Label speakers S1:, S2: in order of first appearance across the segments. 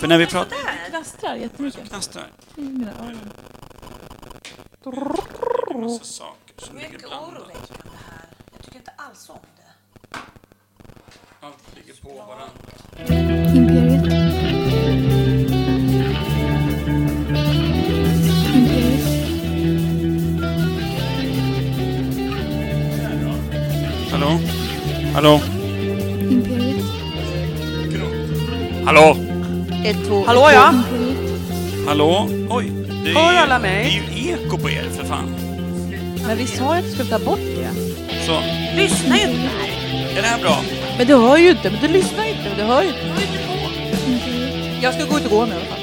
S1: För när vi pratar...
S2: Det knastrar jättemycket.
S1: Knastrar.
S2: i mina öron.
S1: Det är massa saker som ligger
S3: Mycket
S1: blandat.
S3: oroväckande här. Jag tycker inte alls om det.
S1: Allt ligger på varandra.
S4: Imperiet. Imperiet.
S1: Hallå? Hallå?
S4: Imperiet.
S1: Hallå?
S5: Ett, två,
S6: Hallå
S5: ett,
S6: ja!
S4: Imperiet.
S1: Hallå? Oj. Det är,
S6: Hör
S1: ju-
S6: alla mig?
S1: Det är ju eko på er, för fan.
S6: Men vi sa ju att vi skulle ta bort det.
S1: Så,
S6: Lyssna ju inte!
S1: är det här bra?
S6: Men du hör ju inte, men du lyssnar ju inte, men du hör ju inte. Mm.
S4: Imperiet.
S6: Jag ska gå ut och gå nu i alla fall.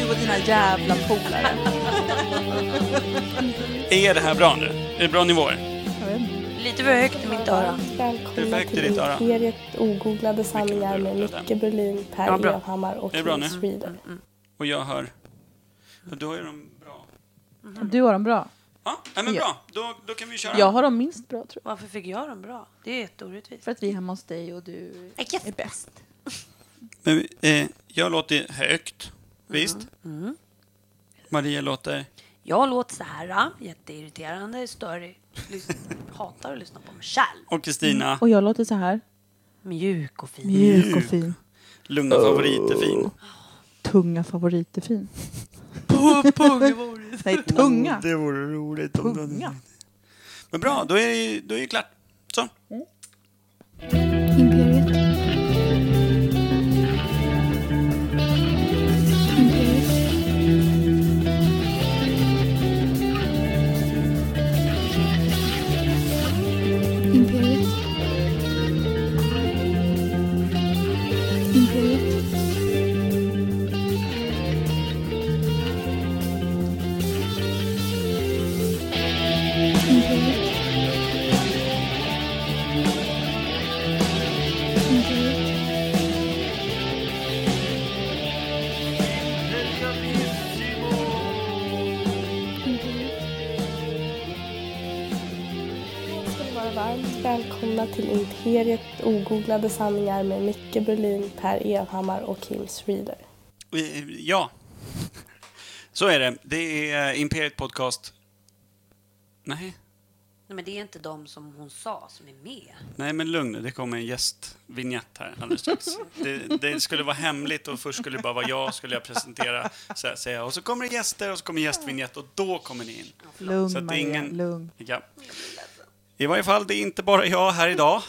S6: Du och dina jävla polare.
S1: Är det här bra nu? Är det bra nivåer?
S3: Lite för högt i mitt öra.
S7: Välkomna
S1: Perfekt i
S7: till
S1: ditt öra.
S7: Imperiet ogooglade sanningar med
S1: Vilken öra.
S7: Micke Berlin,
S6: Ja,
S7: Per
S6: bra. Mm,
S7: Evhammar och
S1: Är det bra
S7: Kim
S1: nu?
S7: Schreeder.
S1: Och jag hör... Ja, Du har ju dem bra.
S6: Du har dem bra.
S1: Ja, nej, men
S6: Ja.
S1: bra. Då, då kan vi köra.
S6: Jag har dem minst bra tror jag.
S3: Varför fick jag dem bra? Det är jätteorättvist.
S6: För att vi är hemma hos dig och du är bäst.
S1: Men, eh, jag låter högt, visst? Maria låter...
S3: Jag låter så här. ah. Jätteirriterande, störig. Lys- Hatar att lyssna på mig själv.
S1: Och Kristina,
S6: Och jag låter så här.
S3: Mjuk och fin.
S6: Mjuk och fin.
S1: lugna favoriter, fin.
S6: Tunga favoriter fin. Nej, tunga.
S1: Det vore roligt om du
S6: Tunga.
S1: Men bra, då är det ju- då är det klart. Så.
S4: Imperiet. Imperiet. Imperiet. Imperiet. Imperiet. Imperiet.
S7: Ska ni vara
S6: mm,
S7: varmt välkomna till Imperiet ogooglade sanningar med Micke Berlin, Per Evhammar och Kim Schreeder.
S1: Eh, Ja. Så är det. Det är eh, Imperiet Podcast. Nej,
S3: Nej, men det är inte de som hon sa som är med.
S1: nej men lugn nu. Det kommer en gästvinjett här alldeles strax. Det, det skulle vara hemligt och först skulle det bara vara jag, skulle jag presentera, så här, säga. Och så kommer det gäster och så kommer gästvinjett och då kommer ni in. Så
S6: Lugn
S1: att det är
S6: Maria,
S1: ingen-
S6: lugn.
S1: Ja. I varje fall, det är inte bara jag här idag.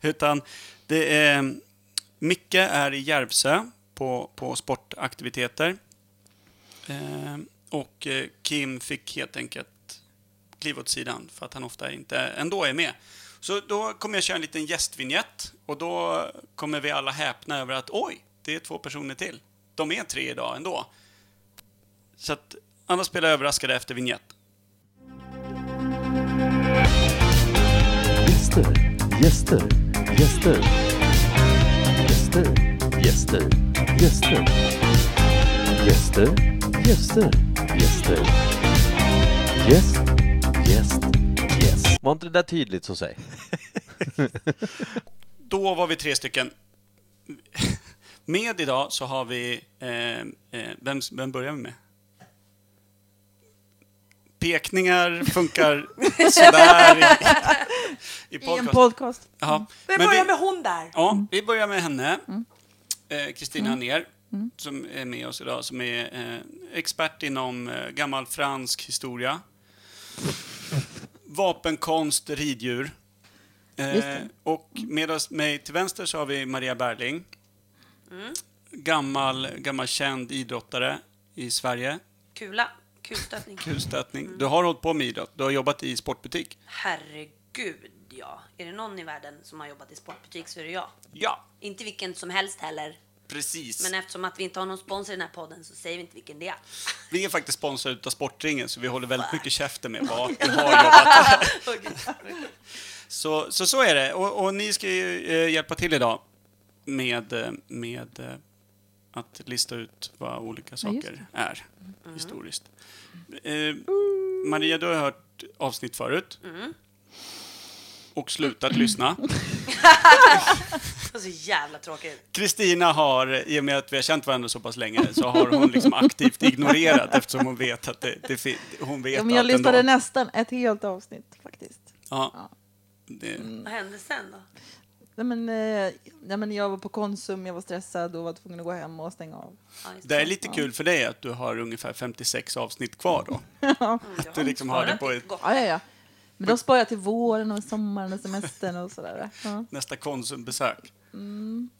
S1: Utan det är... Micke är i Järvsö på, på sportaktiviteter. Eh, och eh, Kim fick helt enkelt kliva åt sidan för att han ofta inte ändå är med. Så då kommer jag köra en liten gästvinjett och då kommer vi alla häpna över att oj, det är två personer till. De är tre idag ändå. Så att alla spelar överraskade efter vinjett.
S8: Gäster, gäster, gäster. Gäster, gäster, gäster. Gäster, gäster, gäster. Gäst, gäst, gäst. Var inte det där tydligt så säg?
S1: Då var vi tre stycken. Med idag så har vi... Eh, eh, vem, vem börjar vi med? Pekningar funkar sådär
S6: I
S1: i, i
S6: en
S1: podcast.
S6: podcast.
S1: ja.
S3: Vi
S1: Men
S3: börjar
S1: vi,
S3: med hon där.
S6: Mm.
S1: ja, vi börjar med henne. Eh, Kristina Anér,
S6: Mm.
S1: som är med oss idag, som är eh, expert inom eh, gammal fransk historia. Vapenkonst, riddjur.
S6: Just
S1: Eh,
S6: det.
S1: och med oss, mig till vänster så har vi Maria Berling. Mm. Gammal, gammal känd idrottare i Sverige.
S3: Kula. Kulstötning.
S1: Kulstötning. Du har hållit på med idrott. Du har jobbat i sportbutik.
S3: Herregud, ja. Är det någon i världen som har jobbat i sportbutik så är det jag.
S1: Ja,
S3: Inte vilken som helst heller.
S1: precis.
S3: Men eftersom att vi inte har någon sponsor i den här podden så säger vi inte vilken det är.
S1: Vi är faktiskt sponsrade utav Sportringen, så vi håller väldigt mycket käften med vad vi har jobbat. Så, så så är det. Och, och ni ska ju eh, hjälpa till idag med, eh, med eh, att lista ut vad olika
S6: Ja, just
S1: saker är historiskt. Eh, Maria, du har hört avsnitt förut. och slutat lyssna.
S3: Det var så jävla tråkigt.
S1: Kristina har, i och med att vi har känt varandra så pass länge, så har hon liksom aktivt ignorerat eftersom hon vet att det, det fin- hon vet
S6: Ja, men jag
S1: allt ändå.
S6: lyssnade nästan ett helt avsnitt faktiskt.
S1: Ja. Det,
S6: Mm.
S3: Vad hände sen då?
S6: Nej, men, eh, nej, men jag var på Konsum, jag var stressad och var tvungen att gå hem och stänga av.
S3: Ja, just
S1: det är lite kul för dig att du har ungefär 56 avsnitt kvar då.
S3: Mm, jag
S1: du liksom har det på
S3: sparat
S1: ett-
S3: gott.
S6: Ja, ja, ja. Men då sparar jag till våren och sommaren och semestern och sådär. Ja.
S1: Nästa Konsumbesök. Mm.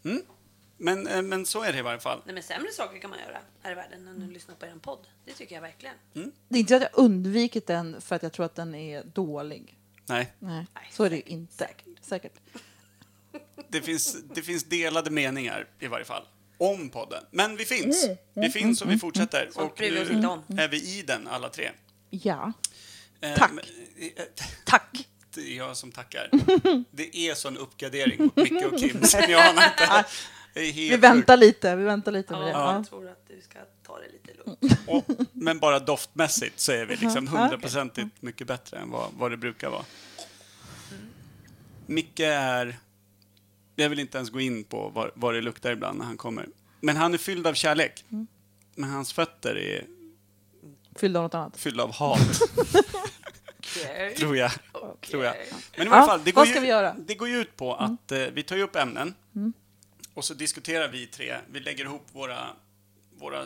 S1: Men, eh, men så är det i varje fall.
S3: Nej, men sämre saker kan man göra här i världen än att lyssna på er podd. Det tycker jag verkligen.
S6: Det är inte så att jag undvikit den för att jag tror att den är dålig.
S1: Nej,
S6: Nej, så är det ju inte. Säkert.
S1: det finns, det finns delade meningar i varje fall. Om podden. Men vi finns.
S6: Mm.
S1: Vi finns och vi fortsätter. Och
S3: bryr vi oss inte om.
S1: nu är vi i den alla tre.
S6: Ja.
S1: Eh,
S6: Tack.
S1: men, eh,
S3: Tack!
S1: Det är jag som tackar. Det är sån uppgradering mot Micke och Kim som jag anar inte. Det är helt
S6: Vi väntar lite. Vi väntar lite med det.
S3: Ja,
S6: Ja.
S3: jag tror att du ska ta det lite lugnt.
S1: sjukt. Och, men bara doftmässigt så är vi liksom hundraprocentigt mycket bättre än vad, vad det brukar vara. Micke är... Jag vill inte ens gå in på vad, vad det luktar ibland när han kommer. Men han är fylld av kärlek. Men hans fötter är
S6: Fyllde av något annat.
S1: fyllda av hat,
S3: Okej.
S1: tror jag.
S3: Okej.
S1: tror jag. Men i varje
S6: Ja,
S1: fall, det går,
S6: vad ska
S1: ju,
S6: vi göra? Mm.
S1: det går ju ut på att eh, vi tar ju upp ämnen och så diskuterar vi tre, vi lägger ihop våra, våra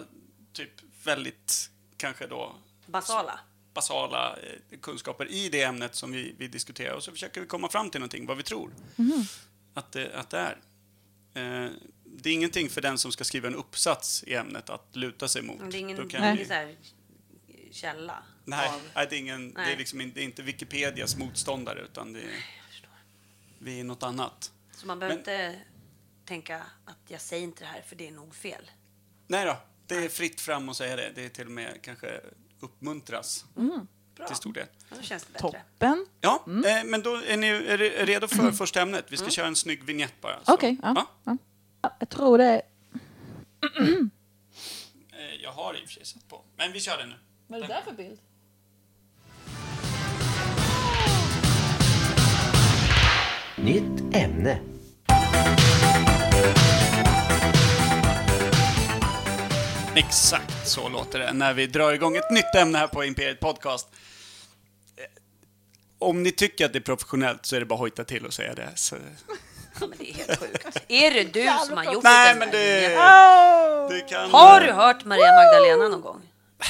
S1: typ väldigt, kanske då
S3: Basala.
S1: basala eh, kunskaper i det ämnet som vi, vi diskuterar och så försöker vi komma fram till någonting, vad vi tror
S6: Mhm.
S1: att, det, att det är. Eh, det är ingenting för den som ska skriva en uppsats i ämnet att luta sig mot.
S3: Det är
S1: Då
S3: ingen,
S1: kan
S3: det är
S1: vi-
S3: ingen så här källa.
S1: Nej,
S3: Av,
S1: nej, det, är ingen, Det,
S3: Nej.
S1: är liksom, in- det är inte Wikipedias motståndare utan det är,
S3: jag förstår.
S1: vi är något annat.
S3: Så man behöver
S1: Men-
S3: inte tänka att jag säger inte det här för det är nog fel.
S1: Nej då, det är fritt fram att säga det. Det är till och med kanske uppmuntras
S6: Mm.
S3: Bra.
S1: till stor del.
S3: Ja, Då känns det bättre.
S6: Toppen.
S1: Ja,
S6: Mm.
S1: eh, men då är ni är ni redo för första ämnet. Vi ska köra en snygg vignett bara. så.
S6: Okej. ja.
S1: Ja.
S6: Ja. Ja, jag tror det är...
S1: Eh, Jag har i och för sig satt på, men vi kör den nu.
S2: Vad är det där för bild?
S8: Nytt ämne.
S1: Exakt så låter det när vi drar igång ett nytt ämne här på Imperiet Podcast. Eh, Om ni tycker att det är professionellt så är det bara att hojta till och säga det. Så...
S3: Ja, men det är helt sjukt. Är det du som har gjort
S1: Nej,
S3: den
S1: men
S3: där
S1: det,
S3: nyheten?
S6: Oh!
S1: det kan...
S3: Har du hört Maria Magdalena någon gång?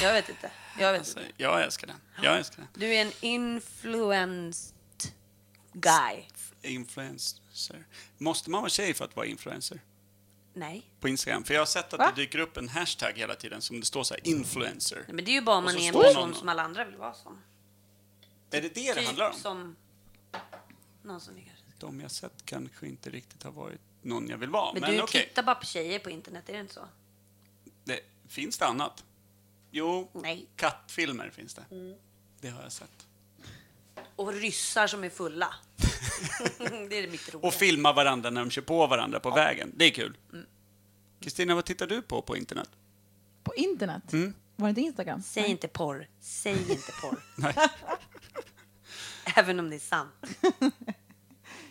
S3: Jag vet inte. Jag vet inte.
S1: Jag älskar den. Jag älskar den.
S3: Du är en influenced guy.
S1: Influencer. Måste man vara tjej för att vara influencer?
S3: Nej.
S1: på Instagram. För jag har sett att
S6: Va?
S1: det dyker upp en hashtag hela tiden som det står så här, influencer.
S3: Nej, Men det är ju bara om
S1: Och
S3: man
S1: så
S3: är en
S1: står det
S3: person
S1: någon-
S3: som alla andra vill vara som.
S1: Är det det det handlar
S3: Typ
S1: om?
S3: som någon som vi kanske...
S1: De jag sett kanske inte riktigt har varit någon jag vill vara.
S3: Men,
S1: Men,
S3: du
S1: okej,
S3: tittar bara på tjejer på internet, är det inte så?
S1: det, finns det annat? Jo,
S3: Nej.
S1: kattfilmer finns det.
S6: Mm.
S1: Det har jag sett.
S3: Och ryssar som är fulla. det är mitt roliga.
S1: Och filma varandra när de kör på varandra på vägen. Det är kul.
S6: Mm.
S1: Kristina, vad tittar du på på internet?
S6: På internet? Var det inte Instagram?
S3: Säg inte porr. Säg inte porr.
S1: Nej.
S3: Även om det är sant.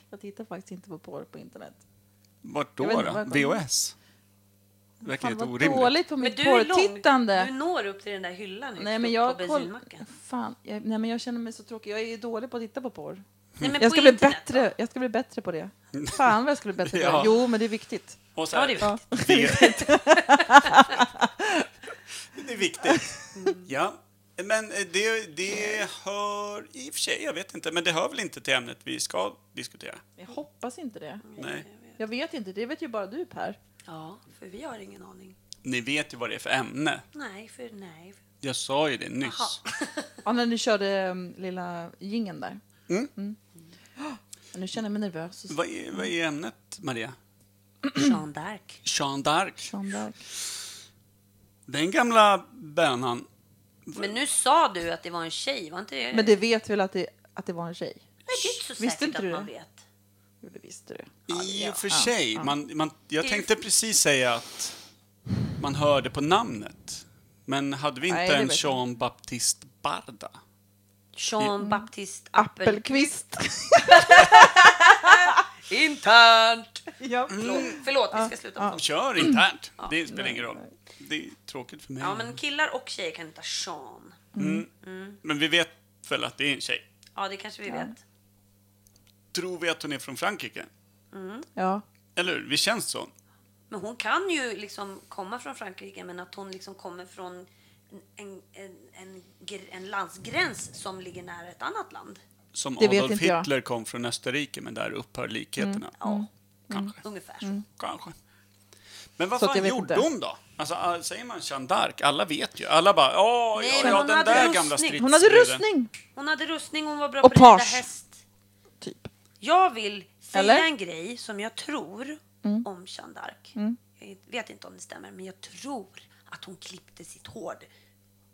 S6: Jag tittar faktiskt inte på porr på internet.
S1: Vart
S6: Jag
S1: då?
S6: vet inte,
S1: då?
S6: var jag kom-
S1: VHS? Det verkar
S6: Fan
S1: helt
S6: vad
S1: orimligt.
S6: dåligt på
S3: Men
S6: mitt
S3: du är lång. Du
S6: porrtittande.
S3: når upp till den där hyllan högst
S6: Nej men
S3: upp på
S6: jag koll...
S3: bensinmacken.
S6: Fan, jag, nej men jag känner mig så tråkig. Jag är ju dålig på att titta på porr.
S3: Nej, men
S6: Jag
S3: på
S6: ska, bli
S3: internet
S6: bättre, jag ska bli bättre på det. Fan vad jag skulle bli bättre på det.
S1: Ja.
S6: Jo, men det är viktigt.
S1: Och så
S3: Ja,
S1: här,
S3: det är viktigt.
S1: Det, det är viktigt.
S6: Mm.
S1: Ja. Men eh, det, det hör i och för sig, jag vet inte, men det hör väl inte till ämnet vi ska diskutera?
S6: Jag hoppas inte det.
S1: Nej.
S6: Jag vet inte, det vet ju bara du Per.
S3: Ja, för vi har ingen aning.
S1: Ni vet ju vad det är för ämne.
S3: Nej, för nej.
S1: Jag sa ju det nyss.
S6: Ja, när du körde mm, lilla gingen där.
S1: Mm.
S6: Oh, nu känner jag mig nervös. och så-
S1: Vad är, vad är ämnet, Maria?
S3: Jean d'Arc.
S1: Jean d'Arc.
S6: Sån där.
S1: Den gamla bönan.
S3: Men nu sa du att det var en tjej, var inte det?
S6: Men det vet väl att det, att det var en tjej?
S3: Nej, det är inte så
S6: Visste
S3: säkert
S6: inte
S3: att
S6: du
S3: man
S6: det?
S3: vet.
S6: Jo, det visste du.
S1: I och för
S6: ja,
S1: sig.
S6: ja.
S1: Man, man, jag
S3: Det är-
S1: tänkte precis säga att man hörde på namnet. Men hade vi inte
S6: Nej, det
S1: en
S6: vet jag.
S1: Jean-Baptiste Barda?
S3: Jean Baptiste Appel.
S6: Appelqvist.
S3: Internt!
S6: ja.
S1: Mm.
S3: Förlåt, förlåt, vi ska sluta med sånt.
S1: Kör internt. Det spelar ingen roll. Det är tråkigt för mig.
S3: Ja, men killar och tjejer kan heta Sean.
S1: Men vi vet väl att det är en tjej.
S3: Ja, det kanske vi vet.
S1: Tror vi att hon är från Frankrike?
S6: ja.
S1: Eller hur? Vi känns så.
S3: Men hon kan ju liksom komma från Frankrike, men att hon liksom kommer från en, en, en, en, gr- en landsgräns som ligger nära ett annat land.
S1: Som
S6: Det vet
S1: Adolf
S6: inte jag. Mm.
S1: Hitler kom från Österrike, men där upphör likheterna.
S3: Ja,
S1: Kanske.
S3: ungefär så.
S1: Kanske. Men vad
S6: Så att
S1: fan
S6: jag vet
S1: gjorde
S6: inte.
S1: hon då? Alltså, all- säger man Jeanne d'Arc? Alla vet ju. Alla bara, ja,
S3: Nej,
S1: ja,
S3: men
S1: ja
S3: hon
S1: den
S3: hade
S1: där
S3: rustning.
S1: gamla stridsbruden.
S6: Hon hade rustning.
S3: Hon hade rustning, hon var bra
S6: Och
S3: på att rida
S6: page.
S3: häst.
S6: Typ.
S3: Jag vill säga
S6: Eller? Mm.
S3: en grej som jag tror om Jeanne d'Arc. Jag vet inte om det stämmer, men jag tror att hon klippte sitt hår.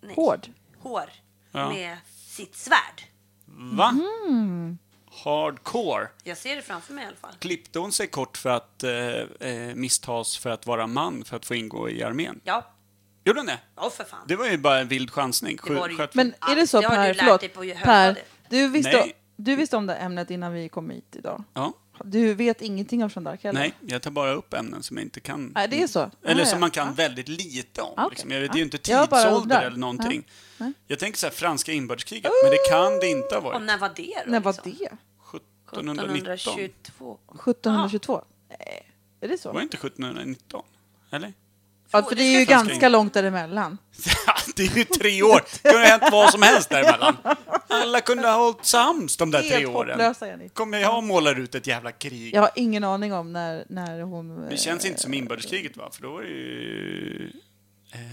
S3: Nej,
S6: Hård.
S3: Hår
S1: Ja.
S3: med sitt svärd.
S1: Va?
S3: Mm.
S1: Hardcore.
S3: Jag ser det framför mig i alla fall.
S1: Klippte hon sig kort för att eh, eh, misstas för att vara man för att få ingå i armén?
S3: Ja,
S1: Gjorde hon det?
S3: ja för fan.
S1: Det var ju bara en vild chansning. Skö-
S3: Det var det ju.
S1: sköt-
S6: Men är det så
S3: Det har
S6: Per,
S3: du lärt dig
S6: förlåt,
S3: på ju
S6: per
S3: högstadiet.
S6: du, visste,
S1: Nej.
S6: du visste om det ämnet innan vi kom hit idag?
S1: ja.
S6: Du vet ingenting om Jeanne d'Arc heller?
S1: Nej, jag tar bara upp ämnen som jag inte kan.
S6: Nej, det är så.
S1: Eller
S6: Ah,
S1: som
S6: ja.
S1: man kan väldigt lite om.
S6: Ah, okej.
S1: liksom. jag vet, det är ju inte
S6: Jag bara
S1: tidsålder
S6: undrar.
S1: eller någonting. Jag tänker så här, franska inbördeskriget, men det kan det inte ha
S3: Och
S1: varit.
S3: när var det då?
S6: När var
S3: liksom?
S6: det?
S1: 1719.
S3: 1722. Ah.
S6: 1722? Nej, är det så?
S1: Var det inte 1719? Eller?
S6: Ja, för det är ju
S1: Franska
S6: ganska
S1: in-
S6: långt däremellan.
S1: Ja, det är ju tre år! Det kunde ha hänt vad som helst däremellan. Alla kunde ha hållit sams de där tre
S6: Helt
S1: åren.
S6: hopplösa är ni.
S1: Kommer jag målar ut ett jävla krig?
S6: Jag har ingen aning om när, när hon...
S1: Det
S6: eh,
S1: känns inte som inbördeskriget va? För då var det ju...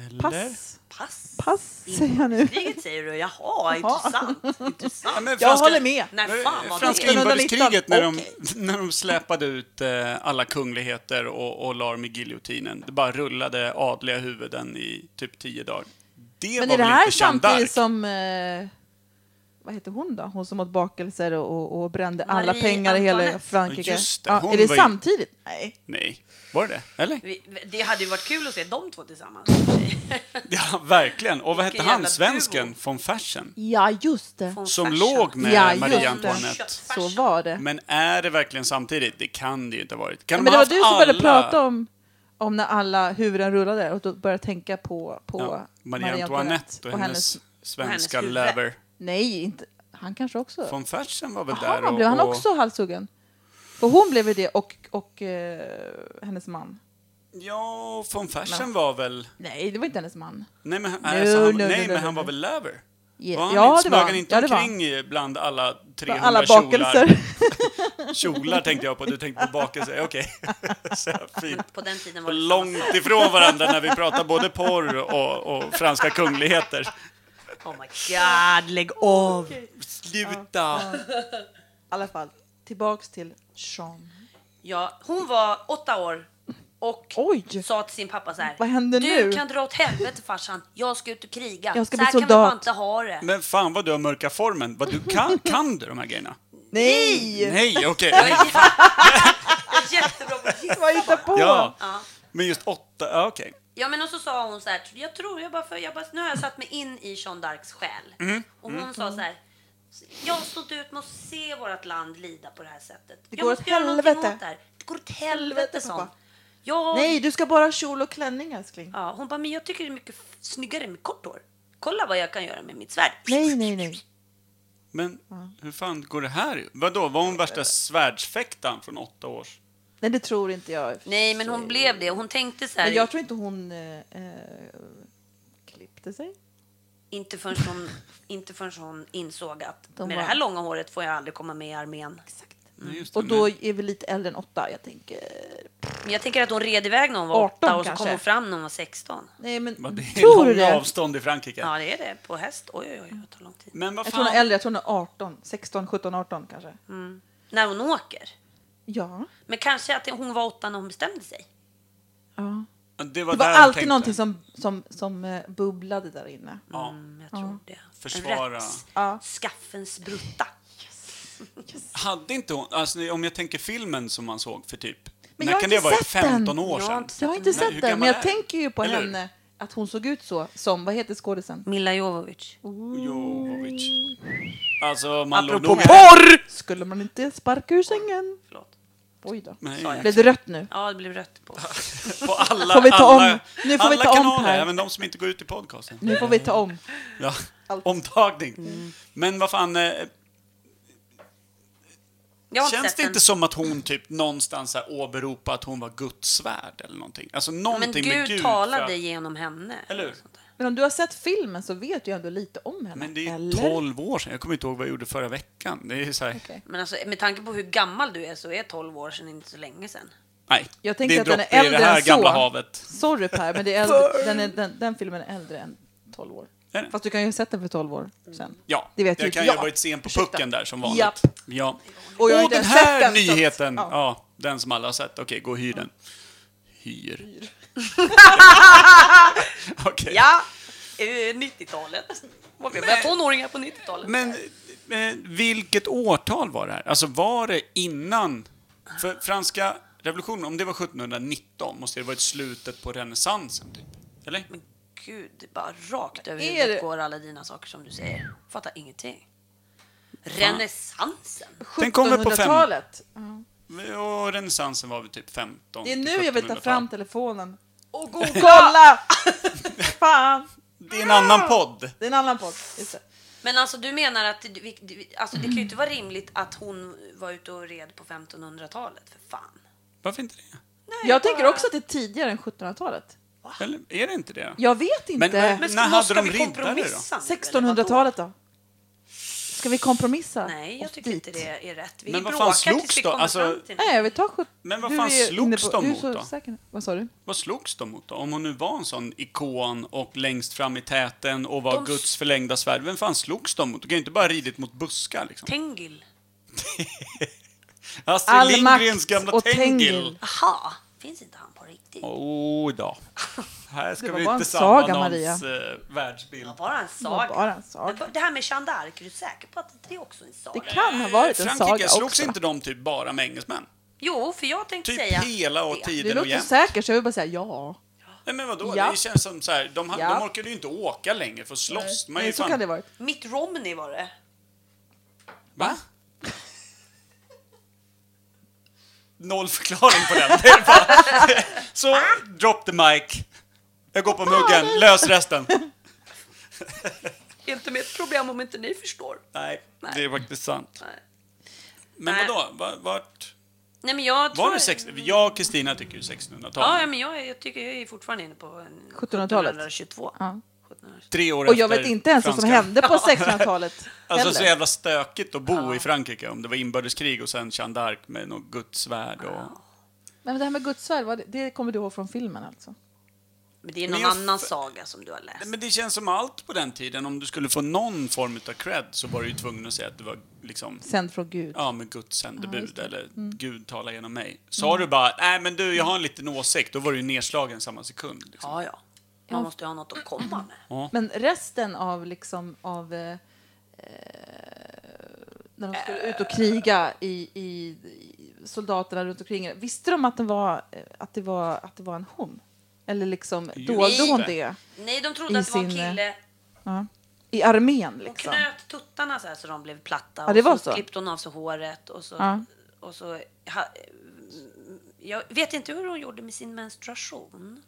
S1: Eller?
S6: Pass.
S3: Pass.
S6: Pass, säger jag nu.
S3: Kriget säger du. Jaha, intressant. intressant.
S1: Ja, men
S6: Jag håller med.
S3: När fan var
S1: Franska
S3: det?
S1: inbördeskriget när de,
S6: 1919,
S1: när de släpade ut eh, alla kungligheter och, och la dem i giljotinen. Det bara rullade adliga huvuden i typ tio dagar. Det
S6: Men
S1: var
S6: är det
S1: väl
S6: här
S1: inte Jeanne d'Arc?
S6: samtidigt som... Eh, vad heter hon då? Hon som åt bakelser och, och, och brände alla
S3: Marie
S6: pengar i
S3: Antoinette.
S6: hela Frankrike.
S1: Ja, just det. Hon
S6: ja, är det
S1: var ju-
S6: samtidigt? Nej.
S1: Nej, var det det? Eller?
S3: Vi- Det hade ju varit kul att se de två tillsammans.
S1: Ja, verkligen. Och vad
S3: Vilken
S1: hette han,
S3: jävla
S1: svensken
S3: duo.
S1: von Fersen?
S6: Ja, just det.
S3: Von
S1: Som
S3: Fersen.
S1: låg med
S6: Ja, just
S1: Marie
S6: det.
S1: Antoinette.
S6: Så var det.
S1: Men är det verkligen samtidigt? Det kan det ju inte ha varit. Kan
S6: Men
S1: de
S6: det var
S1: ha haft
S6: du som började
S1: alla-
S6: prata om, om när alla huvuden rullade och då började tänka på, på
S1: Ja, Marie Antoinette och hennes svenska
S3: och hennes
S1: lover.
S6: Nej, inte, han kanske också.
S1: Von Fersen var väl där
S6: Jaha,
S1: och...
S6: blev han
S1: och-
S6: också halshuggen? För hon blev ju det och, och eh, hennes man.
S1: Ja, von Fersen var väl...
S6: Nej, det var inte hennes man.
S1: Nej, men han,
S6: No,
S1: alltså, han,
S6: no, no,
S1: nej,
S6: no,
S1: men
S6: no,
S1: han var
S6: no.
S1: väl lover?
S6: Ja,
S1: Var han
S6: ja, det
S1: inte,
S6: var
S1: smög han
S6: han.
S1: inte
S6: Ja, det var han.
S1: omkring bland alla 300
S6: Alla
S1: kjolar?
S6: bakelser.
S1: Kjolar tänkte jag på, du tänkte på bakelser. Okej. Så här fint.
S3: På den tiden var
S1: Var
S3: det
S1: Långt ifrån varandra när vi pratar både porr och, och franska kungligheter.
S3: Oh my god, lägg av!
S1: Sluta!
S6: I alla fall, tillbaks till Sean.
S3: Ja, hon var åtta år och
S6: Oj.
S3: sa till sin pappa så här.
S6: Vad händer
S3: du
S6: nu?"
S3: kan dra åt helvete farsan, jag ska ut och kriga.
S6: Jag ska
S3: så här
S6: bli
S3: kan vi
S6: soldat."
S3: bara inte ha det.
S1: Men fan vad du har mörka formen. Vad du kan, kan du de här grejerna?
S6: Nej!
S1: Nej, okej.
S3: Jag är jätte- jag är jättebra på att gissa.
S6: Vad hittar på?
S1: Ja.
S3: Ja.
S1: Men just åtta, ja, okej.
S3: Ja, men och så sa hon så här, jag tror, jag bara, för, jag bara, nu har jag satt mig in i Jeanne d'Arcs själ. Och hon
S6: Mm.
S3: sa så här, jag har stått ut med att se vårt land lida på det här sättet.
S6: Det
S3: jag
S6: går
S3: måste
S6: åt
S3: göra någonting
S6: helvete.
S3: åt det här. Det går åt helvete, sa hon.
S6: pappa.
S3: Jag,
S6: Nej, du ska bara ha kjol och klänning älskling.
S3: Ja, hon bara, men jag tycker det är mycket f- snyggare med kort hår. Kolla vad jag kan göra med mitt svärd.
S6: Nej, nej, nej.
S1: Men hur fan går det här? Vadå, var hon värsta svärdsfäktaren från åtta års?
S6: Nej, det tror inte jag.
S3: Nej, men hon blev det. Hon tänkte så här,
S6: Men jag tror inte hon eh, eh, klippte sig.
S3: inte, förrän hon, inte förrän hon insåg att
S6: De
S3: med
S6: var-
S3: det här långa håret får jag aldrig komma med i armén. Mm.
S1: Nej, just det,
S6: Och då är vi lite äldre än åtta, jag tänker.
S3: Men jag tänker att hon red iväg när hon var
S6: 18
S3: åtta och så kom
S6: kanske.
S3: hon fram när hon var 16.
S6: Nej, men,
S1: men, det är
S6: tror du
S1: långa
S6: det?
S1: avstånd i Frankrike.
S3: Ja, det är det. På häst. Oj, oj, oj, det tar lång tid.
S1: Men vad
S6: Jag tror hon
S1: fan,
S6: är äldre, jag tror hon är 18. 16, 17, 18 kanske.
S3: När hon åker.
S6: Ja.
S3: Men kanske att hon var åtta när hon bestämde sig.
S6: ja.
S1: det var,
S6: Det var
S1: där
S6: alltid
S1: jag tänkte.
S6: någonting som, som, som eh, bubblade där inne.
S1: Ja.
S3: Mm, jag tror det.
S1: Försvara.
S3: En
S6: Ja.
S3: rätts- Skaffens brutta.
S1: Hade inte hon, alltså, om jag tänker filmen som man såg för typ,
S6: Men
S1: när
S6: jag har
S1: kan det
S6: inte
S1: vara?
S6: sett den.
S1: 15 år
S3: Jag har
S1: sedan?
S3: inte
S6: Jag har inte
S1: Men hur
S6: sett den,
S1: gammal
S6: men jag
S1: är-
S6: tänker ju på
S1: eller hur?
S6: henne att hon såg ut så som, vad heter skådisen?
S3: Milla Jovovich.
S1: Jovovic. Alltså, man låg
S6: Apropå
S1: nog...
S6: porr! Skulle man inte sparka ur sängen?
S3: Förlåt.
S6: Oj då.
S3: Sa
S1: Nej,
S3: jag.
S6: Blev det rött nu?
S3: Ja, det blev rött på.
S1: på alla,
S6: Får vi ta
S1: alla,
S6: om- nu får vi
S1: alla
S6: ta om
S1: kanaler,
S6: Per.
S1: även de som inte går ut i podcasten.
S6: Nu får vi ta om.
S1: Ja,
S6: Allt. Mm.
S1: omtagning. Men vad fan, eh,
S3: Jag har inte
S1: känns
S3: sett
S1: det
S3: den.
S1: inte som att hon typ någonstans så här åberopar att hon var Guds svärd eller någonting? Alltså
S3: Men
S1: någonting med
S3: Gud,
S1: Gud. för
S3: talade
S1: att,
S3: genom henne.
S1: Eller hur?
S3: Sånt där.
S6: Men om du har sett filmen så vet du ju ändå lite om henne.
S1: Men det är ju
S6: eller?
S1: 12 år sedan. Jag kommer inte ihåg vad jag gjorde förra veckan. Det är så här,
S6: Okej.
S3: Men alltså, med tanke på hur gammal du är så är 12 år sedan inte så länge sedan.
S1: Nej,
S6: Jag
S1: det
S6: tänker
S1: är
S6: att den är
S1: droppe i det
S6: äldre
S1: här
S6: än så.
S1: gamla havet.
S6: Sorry Per, men det är äldre, den, är, den, den filmen är äldre än 12 år.
S1: Är den?
S6: Fast du kan ju ha sett den för 12 år sedan.
S1: Ja,
S6: Det vet
S1: jag
S6: ju
S1: kan
S6: inte
S1: ju ha
S6: jag.
S1: varit sen på
S6: Ursäkta.
S1: pucken där som vanligt.
S6: Japp.
S1: Ja.
S6: Och jag har
S1: Och
S6: inte
S1: den
S6: ens sett
S1: här
S6: den, så att-
S1: nyheten!
S6: ja.
S1: ja. den som alla har sett. Okej, gå och hyr den. Hyr. Okej.
S3: Ja, eh, 90-talet. Vad vi börjar tonåringar på 90-talet.
S1: Men eh, vilket årtal var det här? Alltså var det innan... För franska revolutionen, om det var 1719, måste det ha varit slutet på renässansen, typ? Eller?
S3: Men gud, det bara rakt över
S6: Är
S3: huvudet
S6: det-
S3: går alla dina saker som du säger. Fattar ingenting. Renässansen.
S1: Den kommer på fem-
S6: 1700-talet.
S1: Och renässansen var väl typ 15
S6: Det är nu jag vill ta
S1: 1700-tal.
S6: fram telefonen och googla! Fan!
S1: Det är en annan podd!
S6: Det är en annan podd. Just det.
S3: Men alltså du menar att det- vi- det- alltså, det kan ju inte vara rimligt att hon var ute och red på 1500-talet, för fan.
S1: Varför inte det?
S6: Jag tänker också att det är tidigare än 1700-talet.
S1: Eller är det inte det?
S6: Jag vet
S1: Men-
S6: inte.
S1: men-
S3: Men
S1: När
S3: ska,
S1: hade
S3: ska
S1: de
S3: vi
S1: riddare
S3: kompromissa nu, eller vadå?
S6: 1600-talet då? Ska vi kompromissa?
S3: Nej,
S6: oss
S3: jag tycker
S6: dit?
S3: inte det är rätt. Vi
S1: Men vad fan
S3: bråkar
S1: slogs
S3: tills vi
S1: då?
S3: kommer
S1: Alltså-
S3: fram till
S6: Nej, vi tar sjut-
S1: Men vad
S6: Du
S1: fan
S6: är inne
S1: slogs
S6: på-
S1: de
S6: du är
S1: mot
S6: så
S1: då?
S6: säker. Vad sa du?
S1: Vad slogs de mot då? Om hon nu var en sån ikon och längst fram i täten och var
S3: De-
S1: Guds förlängda svärd, vem fan slogs de mot? De kan ju inte bara ha ridit mot buskar liksom.
S3: Tengil.
S1: Astrid
S6: All
S1: Lindgrens
S6: makt
S1: gamla
S6: och
S1: Tengil.
S6: Tengil.
S3: Aha, finns inte han på riktigt?
S1: Åh då. Här
S6: Det
S1: ska
S6: var
S1: vi
S6: bara
S1: inte
S6: en saga,
S1: sabba
S6: Maria.
S1: någons eh, världsbild.
S3: Ja, bara en
S6: Det var
S3: saga.
S6: bara en saga.
S3: Men Det här med Jeanne d'Arc, är du säker på att det är också en saga?
S6: Det kan ha varit en saga
S1: Frankrike, slogs
S6: också.
S1: inte de typ bara med engelsmän?
S3: Jo, för jag tänkte
S1: Typ
S3: säga...
S1: hela och
S3: det.
S6: Du
S1: tiden och
S6: låter
S1: jämt.
S6: säker så jag vill bara säga ja.
S1: Nej men vadå,
S6: Ja.
S1: det känns som så här, de, ha-
S6: Ja.
S1: de orkade ju inte åka längre för att slåss. Man är ju
S6: Nej, så
S1: fan...
S6: kan det vara.
S3: Mitt Romney var det.
S1: Va? Noll förklaring på den. Det är bara- Så, drop the mic. Jag går på muggen, lös resten.
S3: Det är inte mitt problem om inte ni förstår.
S1: Nej, det är faktiskt sant.
S3: Nej.
S1: Men
S3: Nej.
S1: vadå, Va- vart...
S3: Nej, men jag tror...
S1: Var det 16... Jag och Kristina tycker ju 1600-talet.
S3: Ja, ja, men jag, är- jag tycker jag är fortfarande inne på en-
S6: 1700-talet.
S3: 1722.
S6: Ja.
S1: Tre år
S6: Och jag
S1: efter
S6: vet inte ens vad som
S1: franskan.
S6: hände på 1600-talet
S1: Alltså så
S6: heller.
S1: jävla stökigt att bo i Frankrike om det var inbördeskrig och sen Jeanne d'Arc med något gudsvärd och...
S6: Men det här med Guds svärd, vad det- det kommer du ihåg från filmen alltså?
S3: Men det är
S1: Men
S3: någon
S1: jag
S3: annan
S1: f-
S3: saga som du har läst.
S1: Men det känns som allt på den tiden, om du skulle få någon form av cred så var du ju tvungen att säga att det var liksom
S6: Sänd från Gud.
S1: Ja, med Guds sändebud eller
S6: Mm.
S1: Gud talar genom mig. Sa du bara, nej men du, jag har en liten åsikt, då var du ju nedslagen samma sekund. Liksom.
S3: Ja, ja. Man måste ju ha något att
S6: Mm.
S3: komma med.
S6: Men resten av liksom av eh, eh, när de skulle ut och kriga i, i, i soldaterna runt omkring visste de att det var eh, att det var att det var en hon eller liksom
S1: Just
S6: dolde hon
S1: det.
S6: det
S3: Nej, de
S6: I
S3: trodde att det var en
S6: sin, eh,
S3: kille.
S6: ja. i armén
S3: Hon
S6: liksom.
S3: knöt tuttarna så här så de blev platta.
S6: det var
S3: och så,
S6: så.
S3: klippte hon av sig håret. Och så,
S6: Ja.
S3: och så, ha, jag vet inte hur hon gjorde med sin menstruation.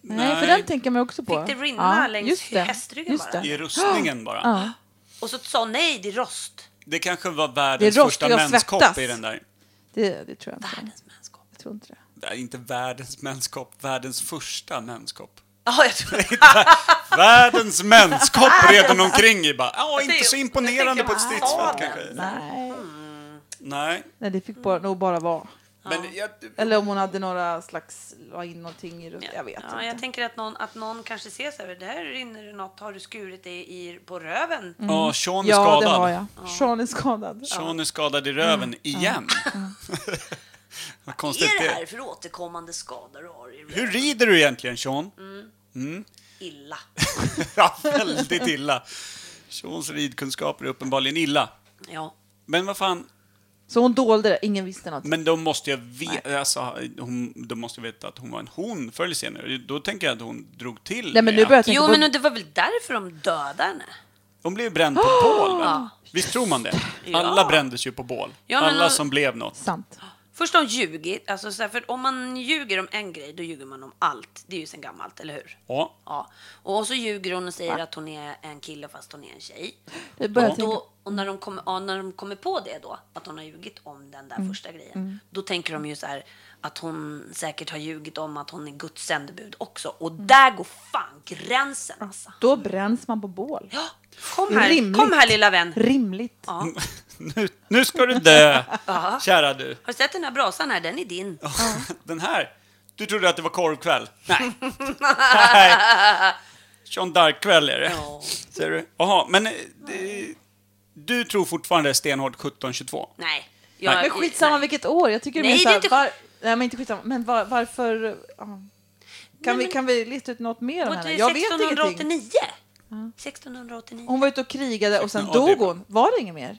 S6: Nej, för den tänker man också på.
S3: Fick det rinna längs
S6: just det,
S3: hästryggen
S6: just
S3: bara?
S6: det.
S1: I rustningen bara.
S6: Ja.
S3: Och så sa hon, nej, det är rost.
S1: Det kanske var världens
S6: Det är
S1: första
S6: rostigt att
S1: menskopp
S6: svettas.
S1: i den där.
S6: Det, det tror jag inte.
S3: Världens mänskap.
S6: Jag tror inte det.
S1: Nej, inte världens menskopp, världens första menskopp.
S3: Ja, jag tror
S1: Världens menskopp redan omkring i bara, ja inte så imponerande
S3: tänker
S1: på ett
S3: bara,
S1: stridsfält
S3: ah,
S1: kanske.
S6: Nej,
S3: Mm.
S1: Nej,
S6: Nej det fick bara, nog bara vara.
S1: men jag,
S6: Eller om hon hade några slags, la in någonting i runt. Jag vet
S3: ja, Jag
S6: inte.
S3: tänker att någon, att någon kanske ser så här, där rinner det något, har du skurit dig i, på
S6: Mm.
S3: röven?
S1: Ja, Sean är
S6: Ja,
S1: skadad.
S6: det har jag. Mm. Sean är skadad.
S1: Sean är skadad i röven igen. Vad
S3: Vad
S1: konstigt
S3: är
S1: det
S3: det här
S1: är.
S3: för återkommande skador du har i röven?
S1: Hur rider du egentligen, Sean?
S6: Mm.
S3: Illa.
S1: ja, väldigt illa. Seans ridkunskaper är uppenbarligen illa.
S3: Ja.
S1: Men vad fan,
S6: Så hon dolde det, ingen visste något.
S1: Men de måste ju veta, alltså, hon, de måste veta att hon var en hon förr eller senare. Då tänker jag att hon drog till
S6: Nej, men nu
S1: med
S6: börjar
S1: att
S6: jag tänka
S3: Jo,
S6: på...
S3: men det var väl därför de dödade henne?
S1: Hon blev bränd på bål,
S6: Ah!
S1: va? Visst tror man det? Alla brändes ju på bål.
S3: Ja, men-
S1: Alla som blev något.
S6: Sant.
S3: Först har hon ljugit. Alltså, så här, för om man ljuger om en grej, då ljuger man om allt. Det är ju sen gammalt, eller hur?
S1: Ja.
S3: Ja. Och så ljuger hon och säger att hon är en kille fast hon är en tjej.
S6: Jag börjar
S3: och
S6: tänka-
S3: då, och när, de kommer, ja, när de kommer på det då, att hon har ljugit om den där
S6: Mm.
S3: första grejen, då tänker de ju så här att hon säkert har ljugit om att hon är Guds sändebud också. Och där går fan gränsen alltså.
S6: Då bränns man på bål.
S3: Ja, kom här,
S6: Rimligt. Mm.
S3: kom här lilla vän.
S6: Rimligt.
S3: Ja.
S1: Nu, nu ska du dö, kära du.
S3: Har du sett den här brasan här? Den är din.
S1: Den här. Du trodde att det var korvkväll? Nej. Nej. Jean d'Arc-kväll är det.
S3: Ja.
S1: Ser du? Jaha, men eh, det- du tror fortfarande stenhårt 1722?
S3: Nej.
S1: Nej.
S6: Men skitsamma
S3: nej.
S6: vilket år. Jag tycker
S3: Nej,
S6: mer
S3: det är
S6: såhär,
S3: inte-
S6: var... Nej, men inte skitsamma. Men var, varför... ja. Kan, vi, kan vi leta ut något mer om
S3: Och
S6: henne?
S3: det
S6: Jag
S3: är
S6: vet ingenting.
S3: 1689. 1689.
S6: Hon var ute och krigade och sen
S1: Ja, det är
S6: dog
S1: bra.
S6: hon. Var det inget mer?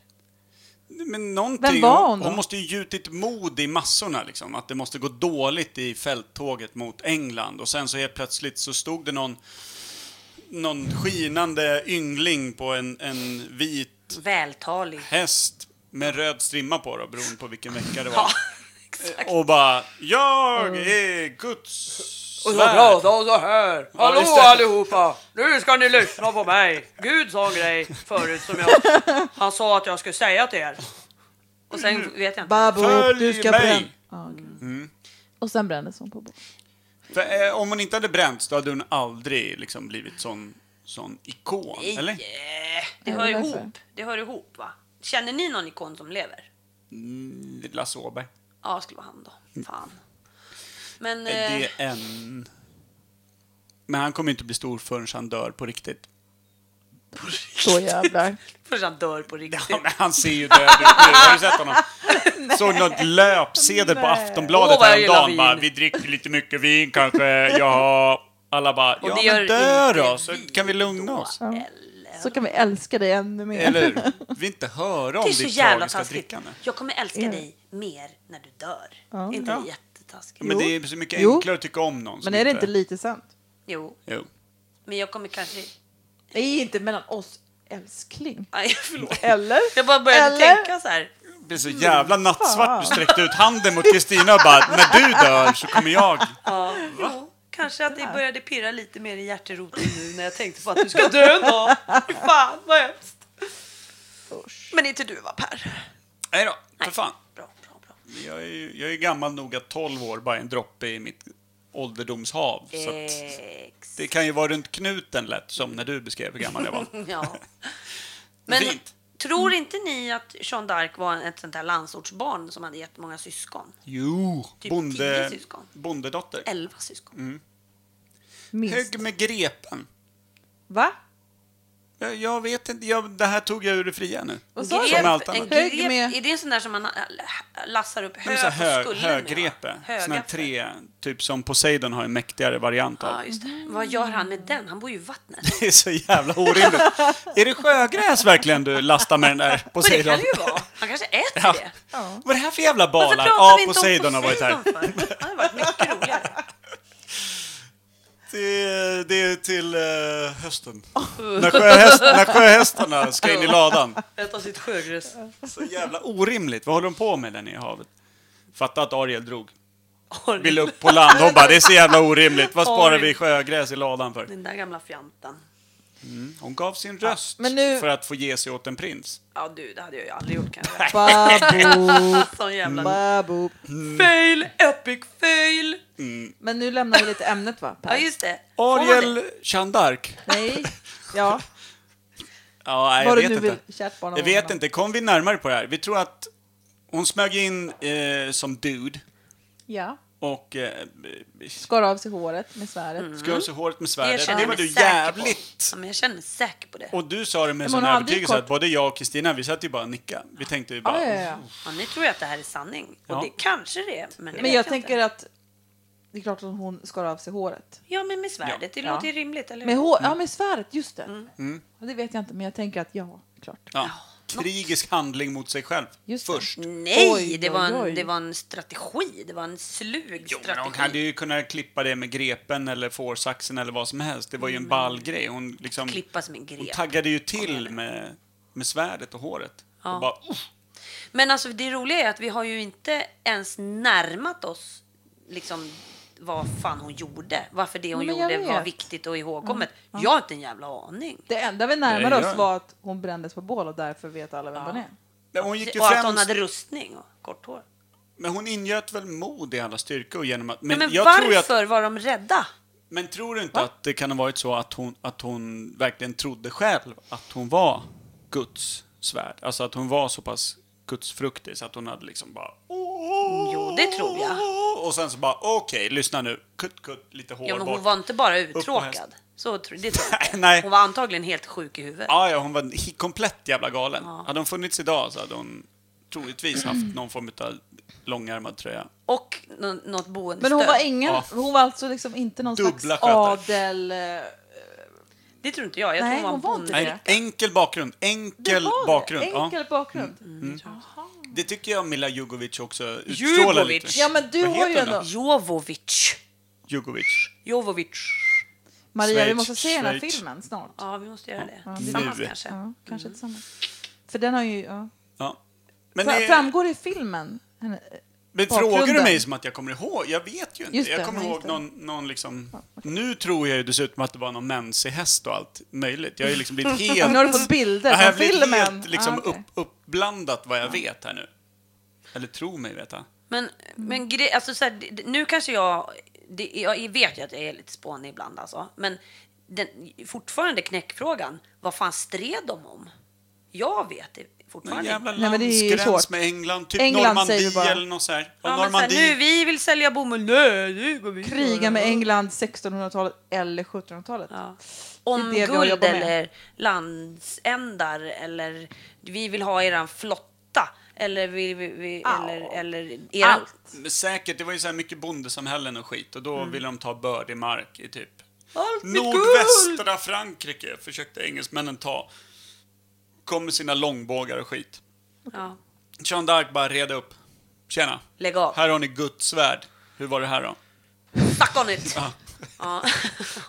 S1: Men någonting,
S6: Vem var hon då?
S1: hon måste ju gjutit mod i massorna, liksom. att det måste gå dåligt i fälttåget mot England. Och sen så helt plötsligt så stod det någon, någon skinande yngling på en, en vit
S3: Vältalig.
S1: häst med röd strimma på, då, beroende på vilken vecka det var.
S3: Ja, exakt.
S1: Och bara Jag är Guds
S5: Och så
S1: svärd."
S5: pratar så här. Hallå
S1: just det.
S5: allihopa! Nu ska ni lyssna på mig. Gud sa en grej förut som jag... Han sa att jag skulle säga till er.
S3: Och
S1: Mm.
S3: sen vet jag inte.
S6: Babo,
S1: Följ
S6: du ska
S1: mig! Mm.
S6: bränna... Ja, okej. Och sen brändes hon på bål.
S1: För, eh, om hon inte hade bränts, då hade hon aldrig liksom, blivit sån, sån ikon, eller?
S3: Eh, Det
S6: Ja,
S3: hör
S6: det är därför.
S3: ihop. Det hör ihop va? Känner ni någon ikon som lever?
S1: Lasse Åberg.
S3: Ja, det skulle vara han då. Fan. Men
S1: Eh,
S3: eh,
S1: Mm. Det är en... Men han kommer inte bli stor förrän han dör på riktigt.
S6: Så jävlar.
S3: först han dör på riktigt.
S1: Ja, men han ser ju död ut nu. Har du sett honom? Såg något löpsedel på Aftonbladet
S5: Åh, vad jag
S1: häromdagen.
S5: gillar
S1: Bara,
S5: vin.
S1: vi dricker lite mycket vin kanske. Ja. Alla bara, ja
S3: det
S1: men
S3: gör
S1: dö
S3: inte
S1: då, så
S3: vi
S1: kan vi lugna
S3: då.
S1: oss.
S3: Eller?
S6: Så kan vi älska dig ännu mer.
S1: Eller hur? Vi inte höra om
S3: Det är så
S1: ditt
S3: jävla
S1: tragiska
S3: taskigt.
S1: drickande.
S3: Jag kommer älska
S6: Ja.
S3: dig mer när du dör.
S6: Ja.
S3: Är inte
S1: Ja.
S3: det jättetaskigt?
S1: Men
S6: Jo.
S1: det är så mycket
S6: Jo.
S1: enklare att tycka om någon. som
S6: Men är det inte lite sant?
S3: Jo,
S1: Jo.
S3: men jag kommer kanske...
S6: Nej, inte mellan oss, älskling.
S3: Aj, förlåt.
S6: Eller?
S3: Jag bara började
S6: Eller?
S3: tänka så här.
S1: Det blir så jävla nattsvart. Du sträckte ut handen mot Kristina och bara, när du dör så kommer jag.
S3: Ja, jo, kanske att det började pirra lite mer i hjärteroten nu när jag tänkte på att du ska dö en dag. Fy Fan, vad hemskt. Men inte du va, Per?
S1: Nej då, för fan.
S3: Bra, bra, bra.
S1: Jag är, ju- jag är gammal nog att 12 år bara är en droppe i mitt ålderdomshav. Så att
S3: Ex.
S1: det kan ju vara runt knuten lätt, som när du beskrev hur gammal jag var.
S3: Ja. Men
S1: Fint.
S3: tror inte ni att Jeanne d'Arc var ett sånt där landsortsbarn som hade jättemånga syskon?
S1: Jo,
S3: Typ
S1: bonde,
S3: tio syskon.
S1: bondedotter.
S3: Elva syskon.
S1: Mm.
S6: Minst.
S1: Hög med grepen.
S6: Va?
S1: Jag, jag vet inte, jag, det här tog jag ur det fria nu.
S6: Vad sa
S1: Som
S6: du?
S1: allt
S3: Grep,
S1: annat.
S3: en
S6: Hög
S3: grep,
S6: med-
S3: är det en sån där som man äh, lassar upp hö
S1: Men så
S3: på
S1: här, hög,
S3: skullen
S1: högrepe.
S3: med? va?
S1: Sån här
S3: Högaffel.
S1: tre, typ som Poseidon har en mäktigare variant av.
S3: Ja, just det. Vad gör han med den? Han bor ju i vattnet.
S1: Det är så jävla orimligt. är det sjögräs verkligen du lastar med den där
S3: Men det
S1: Poseidon?
S3: kan det ju vara. Han kanske äter
S1: Ja.
S3: det.
S1: Vad är det här för jävla
S3: Varför
S1: balar?
S3: pratar
S1: Ja,
S3: vi inte
S1: Poseidon
S3: om
S1: har varit
S3: Poseidon
S1: här.
S3: för? Det hade varit mycket roligare.
S1: Det, det är till eh, hösten.
S3: Oh.
S1: När, sjöhäst, när sjöhästarna ska in i ladan.
S5: Äta sitt sjögräs.
S1: Så jävla orimligt. Vad håller de på med där nere i havet? Fatta att Ariel drog. Ville upp på land. Hon bara, det är så jävla orimligt. Vad sparar vi sjögräs i ladan för?
S3: Den där gamla fjantan.
S1: Hon gav sin röst
S6: men nu-
S1: för att få ge sig åt en prins.
S3: Ja du, det hade jag ju aldrig gjort kanske.
S6: Babo,
S3: Sån jävla
S6: babo.
S1: Mm.
S3: fail, epic fail.
S6: Men nu lämnar vi lite ämnet va? Per?
S3: Ja just det. Får man det?
S1: Ariel Jeanne d'Arc.
S6: Nej. Ja,
S1: Ja, nej, jag
S6: vad du
S1: vet
S6: nu
S1: inte.
S6: vill. Kärt barn av
S1: Jag vet
S6: honom.
S1: inte, kom vi närmare på det här? Vi tror att hon smög in eh, som dude
S6: Ja.
S1: och eh,
S6: Skar av sig håret med svärdet.
S3: Mm.
S1: skar sig håret med
S3: Jag
S1: svärdet.
S3: känner
S1: Det var
S3: mig
S1: du
S3: säker
S1: jävligt...
S3: På. Ja, men jag känner mig säker på det.
S1: Och du sa det med en
S6: Men
S1: sån
S6: hon har aldrig
S1: övertygelse
S6: gått-
S1: att både jag och Kristina, vi satt ju bara och nickade. Vi tänkte ju bara...
S6: Ja, ja, ja.
S3: Ja, ni tror ju att det här är sanning. Och
S1: Ja.
S3: det kanske det är. Men, det
S6: Men
S3: vet
S6: jag
S3: inte.
S6: tänker att det är klart att hon skar av sig håret.
S3: Ja men med svärdet, det
S6: Ja.
S3: låter ju rimligt. Eller hur? Mm.
S1: Mm.
S6: Med hår, ja med svärdet, just det. Ja, det vet jag inte, men jag tänker att ja, klart.
S1: Ja. krigisk handling mot sig själv
S6: Just det.
S1: först.
S3: Nej,
S6: Oj,
S3: det, var en,
S6: oj, oj.
S3: det var en strategi. Det var en slug
S1: Jo, men hon
S3: strategi.
S1: hade ju kunnat klippa det med grepen eller fårsaxen eller vad som helst. Det var ju
S6: Mm.
S1: en ball grej. Hon, liksom,
S3: Klippa som en grep.
S1: hon taggade ju till med, med svärdet och håret. Och bara, "Uff,
S3: Men alltså, det roliga är att vi har ju inte ens närmat oss liksom, vad fan hon gjorde. Varför det hon
S6: Men jag
S3: gjorde var
S6: vet. Mm,
S3: viktigt och ihågkommet. Jag har inte en jävla aning.
S6: Det enda vi närmade
S1: Nej, jag-
S6: oss var att hon brändes på bål och därför vet alla vem hon är.
S1: men hon gick ju
S3: Och att hon
S1: främst,
S3: hade rustning och kort hår.
S1: men hon ingöt väl mod i alla styrkor genom att... Men,
S3: Men, men
S1: jag
S3: varför
S1: tror ju att
S3: var de rädda?
S1: Men tror du inte att det kan ha varit så att hon, att hon verkligen trodde själv att hon var Guds svärd? Alltså att hon var så pass gudsfruktig så att hon hade liksom bara...
S3: Jo, det tror jag.
S1: Och sen så bara, okej, lyssna nu. Kutt, kutt, lite hår
S3: Ja, men
S1: bort.
S3: hon var inte bara
S1: häst.
S3: uttråkad. Så, tro- det tror jag inte.
S1: Nej.
S3: Hon var antagligen helt sjuk i huvudet.
S1: Ah, Ja, ja, hon var hi- komplett jävla galen. Hade hon funnits idag så hade hon troligtvis haft någon form av långärmad tröja.
S3: Och nå- något
S6: Men
S3: boendestöd.
S6: hon var ingen,
S1: Ja.
S6: hon var alltså liksom inte någon
S1: Dubbla
S6: slags
S1: skötar.
S6: adel... eh,
S3: Det tror inte jag. Jag
S6: Nej,
S3: tror hon
S6: hon
S3: var
S6: var
S3: en
S6: inte
S3: bonde.
S1: Nej,
S6: det.
S1: enkel bakgrund.
S6: det
S1: Enkel
S6: var det.
S1: bakgrund.
S6: Enkel
S1: Ja, Mm.
S6: bakgrund.
S1: det tycker jag Mila Jugovic också utstrålar lite.
S3: Jugovic.
S6: Ja, men du
S1: Vad
S6: har
S1: heter
S6: ju
S1: hon då?
S6: ändå...
S3: Jovovic.
S1: Jugovic.
S3: Jovovic.
S6: Maria, vi
S1: Schweiz,
S6: måste se den här
S1: Schweiz. Mm.
S6: filmen snart.
S3: Ja, vi måste göra det.
S1: Nu.
S3: Tillsammans kanske.
S6: Ja, kanske tillsammans. För den har ju... Ja.
S1: Ja. Men,
S6: Fra-
S1: det-
S6: Framgår det i filmen? Henne-
S1: men
S6: bakgrunden?
S1: frågar du mig som att jag kommer ihåg? Jag vet ju inte.
S6: Just det,
S1: jag kommer
S6: nej,
S1: ihåg
S6: just det.
S1: någon, någon liksom... Nu tror jag ju dessutom att det var någon mensig häst och allt möjligt. Jag har ju liksom blivit helt...
S6: Nu har du fått bilder
S1: Ja, jag
S6: från
S1: har blivit
S6: filmen.
S1: helt liksom
S6: Ah, okej.
S1: upp, uppblandat vad jag vet här nu. Eller tror mig veta.
S3: Men, men gre- alltså, så här, det- det- nu kanske jag... Det, jag vet ju att jag är lite spånig ibland, alltså. men den, fortfarande knäckfrågan. Vad fan stred de om? Jag vet det
S1: Någon
S3: fortfarande
S1: jävla
S6: Nej, men det är ju
S1: landsgräns
S6: svårt.
S1: med England. Typ
S6: England säger
S1: Normandie
S6: du bara.
S1: eller något så här. Och
S3: Ja, men så här,
S1: Normandie...
S3: nu, vi vill sälja bomull. Nej, det går vi inte
S6: Kriga
S3: göra.
S6: med England 1600-talet eller 1700-talet.
S3: Ja.
S6: Det
S3: Om
S6: är det vi har
S3: guld
S6: jobbat med.
S3: eller landsändar eller vi vill ha eran flotta eller, vi, vi, vi, eller, eller eran...
S6: Ah. Allt.
S1: Men Säkert, det var ju så här mycket bondesamhällen och skit och då ville de ta bördig mark i typ
S3: Mm. Allt mitt guld!
S1: nordvästra Frankrike försökte engelsmännen ta. Kom med sina långbågar och skit.
S3: Ja.
S1: Jean d'Arc bara reda upp. Tjena.
S3: Lägg av.
S1: Här har ni Guds svärd. Hur var det här då?
S3: Fuck on it! Ja.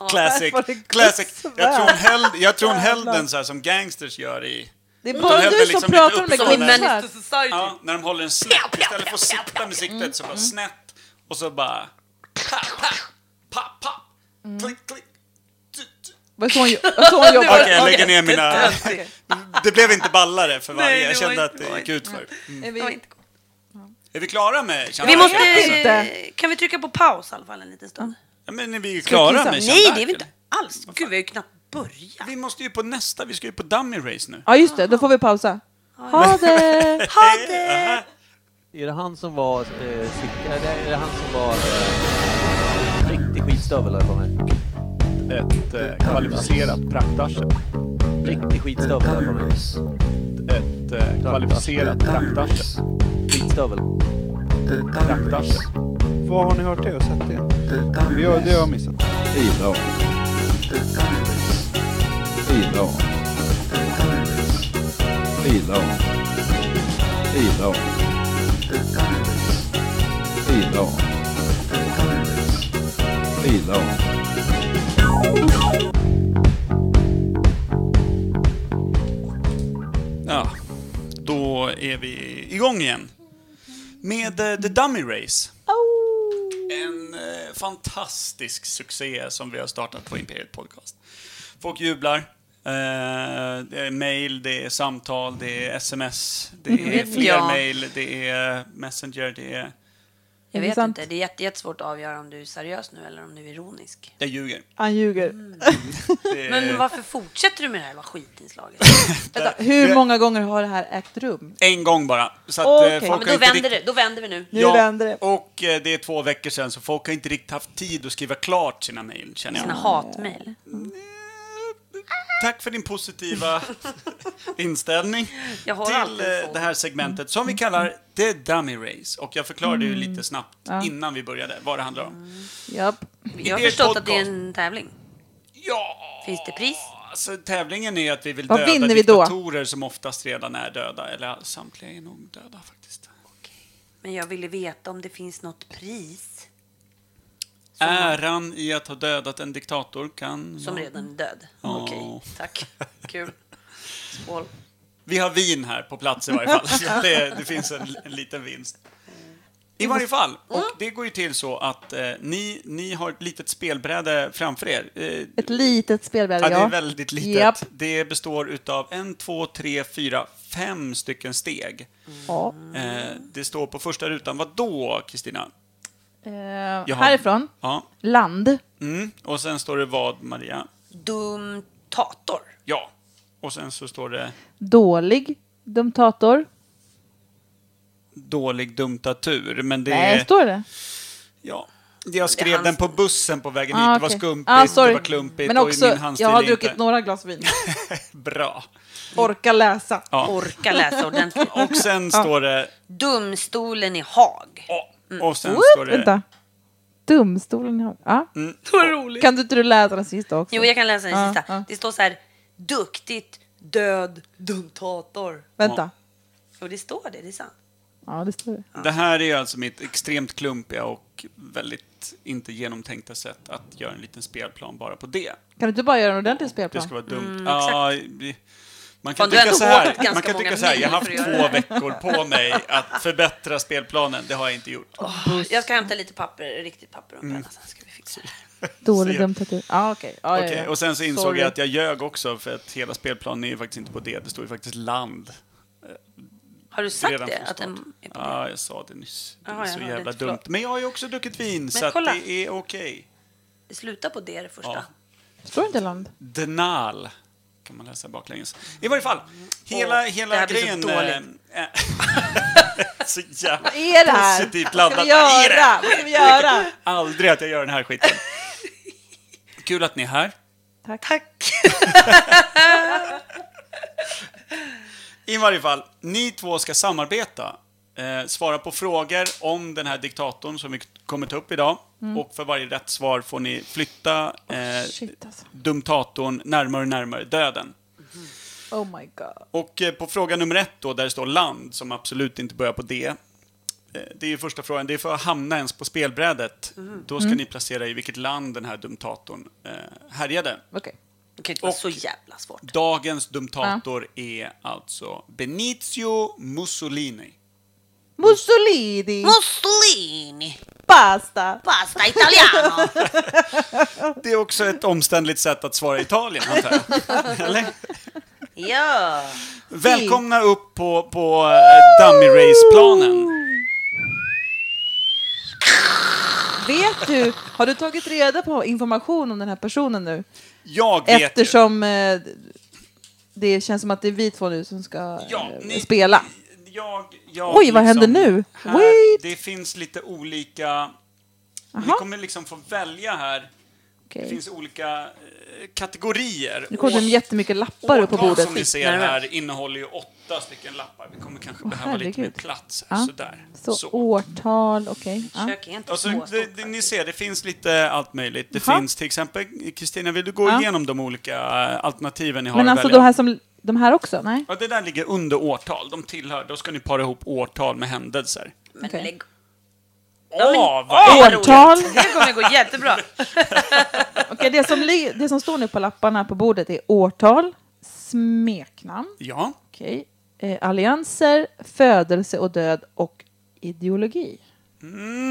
S1: Classic.
S6: var det Guds
S1: Classic. Jag tror hon
S6: svärd.
S1: hällde, jag tror hon hällde den så här som gangsters gör i...
S6: Det är
S1: De
S6: bara
S1: hävdar
S6: du som
S1: liksom lite
S6: pratar om det.
S1: uppifrån
S6: Guds
S1: där.
S6: svärd.
S3: Humanist society.
S1: Ja, när de håller en snett. Istället för att sitta med siktet så bara
S3: Mm.
S1: snett. Och så bara... Pa, pa, pa, pa.
S3: Mm.
S1: Klick, klick. Tu, tu.
S6: Vad är så hon jo- vad är så hon jobbar?
S1: Okej, jag lägger ner mina...
S6: Okej.
S1: Det blev inte ballare för varje.
S3: Nej, det
S1: jag
S3: var
S1: kände
S3: inte-
S1: att det gick ut för.
S6: Är
S3: Det var
S6: vi-
S3: inte gott.
S1: Är vi klara med Jean
S3: Vi
S1: d'Arc?
S3: måste...
S6: inte.
S3: Kan vi trycka på paus i alla fall en liten stund?
S1: Ja, men är vi ju klara
S6: kissa?
S1: med Jean
S3: Mm. Nej,
S1: d'Arc,
S3: det är vi inte
S1: eller?
S3: alls. Gud, vi har ju knappt börjat.
S1: Vi måste ju på nästa. Vi ska ju på dummy race nu.
S6: Ja, just det. Då får vi pausa. Ha det!
S3: Ha det!
S9: Är det han som var eh, cykel... Eller är det han som var... Eh, riktig skitstövel har jag för mig.
S10: Ett eh, kvalificerat praktarsel.
S9: Riktig skitstövel har jag för mig.
S10: Ett eh, kvalificerat praktarsel.
S9: Skitstövel.
S10: Praktarsel. Vad har ni hört det och sett det? Vi har, det har jag missat.
S11: Idag. Idag. Idag. Idag. Idag. Idag.
S1: Ja, då är vi igång igen. Med eh, The Dummy Race. En eh, fantastisk succé som vi har startat på Imperiet Podcast. Folk jublar. Eh, det är mail, det är samtal, det är sms, det är
S3: vet
S1: fler
S3: jag.
S1: mail, det är Messenger, det är...
S3: Jag vet
S6: Intressant.
S3: inte, det är jätte- jättesvårt att avgöra om du är seriös nu eller om du är ironisk. Eh.
S1: Jag ljuger.
S6: Han ljuger.
S1: Det är
S3: Men varför fortsätter du med det här jävla skitinslaget?
S6: Vänta,
S1: Mm.
S6: hur många gånger har det här ägt rum?
S1: en gång bara. Så att, eh,
S6: Okej.
S1: folk
S6: Ja,
S3: Ja,
S1: har
S3: men då
S1: inte
S3: vänder,
S1: riktigt-
S3: det, då vänder vi nu.
S6: Nu vänder det.
S1: och eh, det är två veckor sedan, så folk har inte riktigt haft tid att skriva klart sina mejl, känner jag.
S3: Sina hatmejl.
S1: Tack för din positiva inställning
S3: Jag har
S1: till
S3: alltid
S1: eh,
S3: folk.
S1: det här segmentet som vi kallar The Dummy Race. Och jag förklarade ju
S6: Mm.
S1: lite snabbt innan vi började vad det handlar om.
S6: Japp.
S3: Jag har
S1: er
S3: förstått att det är
S1: podcast.
S3: en tävling.
S1: Ja,
S3: Finns det pris?
S1: Alltså, tävlingen är att vi vill
S6: Vad
S1: döda
S6: vinner vi då?
S1: diktatorer som oftast redan är döda. Eller samtliga är nog döda faktiskt.
S3: Men jag ville veta om det finns något pris
S1: Äran i att ha dödat en diktator kan...
S3: som
S1: vara-
S3: redan är död.
S1: Ja.
S3: Okej, tack. Kul. Skål.
S1: Vi har vin här på plats i varje fall. Så det, det finns en, en liten vinst. I varje fall. Och
S6: Mm.
S1: det går ju till så att eh, ni, ni har ett litet spelbräde framför er. Eh,
S6: Ett litet spelbräde,
S1: ja, det är väldigt litet.
S6: Japp.
S1: Det består utav en, två, tre, fyra, fem stycken steg.
S6: Ja.
S1: Eh, det står på första rutan, vad då, Kristina?
S6: Eh,
S1: Jag har-
S6: härifrån.
S1: Ja.
S6: Land.
S1: Mm. Och sen står det vad, Maria?
S3: Dumtator.
S1: Ja. Och sen så står det
S6: Dålig. Dumtator.
S1: dålig dumtatur. Men det
S6: Nej,
S1: är...
S6: står det?
S1: Ja. Jag skrev den på bussen på vägen hit.
S6: Ah,
S1: Det var
S6: okej.
S1: skumpigt,
S6: Ah, sorry.
S1: det var klumpigt
S6: Men också,
S1: och min handstil
S6: jag har
S1: är
S6: druckit
S1: inte
S6: några glas vin.
S1: bra.
S6: Orka läsa.
S1: Ja.
S3: Orka läsa ordentligt.
S1: Och
S6: Ah.
S1: sen står det...
S3: Dumstolen i Haag.
S1: Och sen
S6: What?
S1: står det...
S6: Mm.
S1: Mm.
S6: Vänta. Dumstolen i Haag. Ja. Kan du inte du läsa den sista också?
S3: Jo, jag kan läsa den
S6: Ja,
S3: sista.
S6: ja.
S3: Det står så här. Duktigt, död, dumtator.
S6: Vänta.
S3: Jo, det står det. Det är sant.
S6: Ja, det står det.
S1: Det här är ju alltså mitt extremt klumpiga och väldigt inte genomtänkta sätt att göra en liten spelplan bara på det.
S6: Kan du inte bara göra en ordentlig
S1: Det
S6: spelplan?
S1: ska vara dumt.
S3: Mm,
S1: ja, vi- man kan
S3: Fan, du
S1: tycka
S3: har
S1: så
S3: ändå
S1: här.
S3: åkt ganska
S1: Man kan tycka
S3: många
S1: så här. Jag har
S3: mil
S1: haft
S3: för att göra
S1: två veckor på mig att förbättra spelplanen. Det har jag inte gjort.
S3: Jag ska hämta lite papper, riktigt papper och en
S1: Mm.
S3: penna sen ska vi fixa det här.
S6: Dålig
S1: Se.
S6: dum tattoo. Ja, okej. Ja, ja,
S1: Okej,
S6: ja.
S1: och sen så insåg
S6: Sorry.
S1: jag att jag ljög också för att hela spelplanen är ju faktiskt inte på det. Det står ju faktiskt land.
S3: Har du sagt
S1: redan
S3: det?
S1: från
S3: Att den
S1: start.
S3: är på det?
S1: Ja, jag sa det nyss. Det
S3: Jaha,
S1: är
S3: jag
S1: så
S3: hörde
S1: jävla
S3: inte,
S1: dumt.
S3: förlåt.
S1: Men jag har ju också druckit vin, så att
S3: kolla.
S1: det är okej.
S3: Sluta på det, det första.
S1: Ja.
S6: Står det inte land?
S1: Denal kan man läsa baklänges. I varje fall, hela,
S3: Åh,
S1: hela
S3: det här blir så
S1: grejen...
S3: dåligt.
S1: eh, så jävla
S6: Vad är det här?
S1: positivt
S6: Vad ska
S1: laddat.
S6: vi
S1: Vad är det
S6: göra?
S1: här?
S6: Vad ska vi göra?
S1: Aldrig att jag gör den här skiten. Kul att ni är här.
S6: Tack.
S1: I varje fall, ni två ska samarbeta. Eh, svara på frågor om den här diktatorn som vi kommer ta upp idag.
S6: Mm.
S1: Och för varje rätt svar får ni flytta eh,
S6: Shit alltså.
S1: dumtatorn närmare och närmare döden.
S6: Oh my god.
S1: Och eh, på fråga nummer ett då, där det står land, som absolut inte börjar på D. eh, Det är ju första frågan, det är för att hamna ens på spelbrädet.
S6: Mm.
S1: Då ska ni placera i vilket land den här dumtatorn eh, härjade.
S6: Okej.
S3: Det kan ju inte vara
S1: Och-
S3: så jävla svårt.
S1: Dagens dumtator är alltså Benizio Mussolini.
S6: Mussolini.
S3: Mussolini!
S6: Pasta.
S3: Pasta italiano!
S1: Det är också ett omständligt sätt att svara Italien, antar jag. Eller?
S3: ja!
S1: Välkomna upp på, på eh, dummy race-planen.
S6: Vet du, har du tagit reda på information om den här personen nu?
S1: Jag vet ju.
S6: Eftersom eh, det känns som att det är vi två nu som ska
S1: Ja,
S6: eh,
S1: ni-
S6: spela.
S1: Jag, jag liksom
S6: Oj, vad händer nu?
S1: Här,
S6: Wait.
S1: Det finns lite olika... Ni
S6: Aha.
S1: kommer liksom få välja här. Det
S6: Okej.
S1: finns olika eh, kategorier.
S6: Nu kommer det
S1: Års-
S6: jättemycket lappar upp på
S1: årtal
S6: bordet.
S1: som ni ser här innehåller ju åtta stycken lappar. Vi kommer kanske behöva lite mer
S6: herregud.
S1: plats. Här,
S6: Ja.
S1: Sådär.
S6: Så, årtal, okej. Ja.
S3: Kök är inte
S1: Och så,
S3: småstort
S1: Alltså, det, det, ni
S3: faktiskt.
S1: ser, det finns lite allt möjligt. Det
S6: typ. Jaha.
S1: finns till exempel, Kristina, vill du gå
S6: Ja.
S1: igenom de olika eh, alternativen ni har
S6: Men
S1: att
S6: alltså
S1: välja?
S6: de här, som, de här också? Nej?
S1: Ja, det där ligger under årtal. De tillhör, då ska ni para ihop årtal med händelser.
S3: Men
S6: Okej.
S3: lägg
S1: Åh,
S3: Åh,
S1: vad
S3: vad
S6: Årtal.
S3: roligt. Det här kommer gå jättebra.
S6: Okej, det, som li- det som står nu på lapparna på bordet är årtal, smeknamn,
S1: Ja,
S6: okej, eh, allianser, födelse och död och ideologi.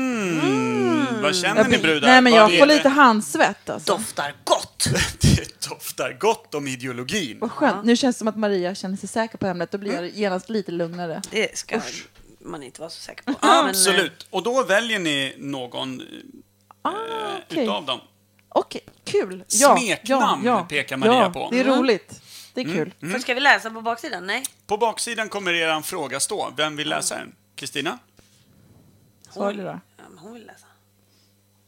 S1: Mm. Vad känner ni
S6: Jag-
S1: brudar?
S6: Nej, men
S1: Vad
S6: jag
S1: är
S6: får
S1: det?
S6: lite handsvett alltså.
S3: Doftar gott.
S1: Det doftar gott om ideologin.
S6: Vad skönt. Nu känns det som att Maria känner sig säker på ämnet. Då blir
S1: Mm.
S6: jag genast lite
S1: Eh,
S6: lugnare.
S3: Det ska man inte vara så säker på. Men, eh,
S1: Absolut. Och då väljer ni någon eh,
S6: Ah, okej.
S1: utav dem.
S6: Okej, kul. Ja,
S1: Smeknamn
S6: ja, ja,
S1: pekar Maria
S6: ja,
S1: på. Mm.
S6: det är
S3: Mm.
S6: roligt. Det är kul.
S3: Så ska vi läsa på baksidan? Nej.
S1: På baksidan kommer er fråga stå. Vem vill läsa den? Kristina?
S6: Svarar du då?
S3: Ja, men hon vill läsa.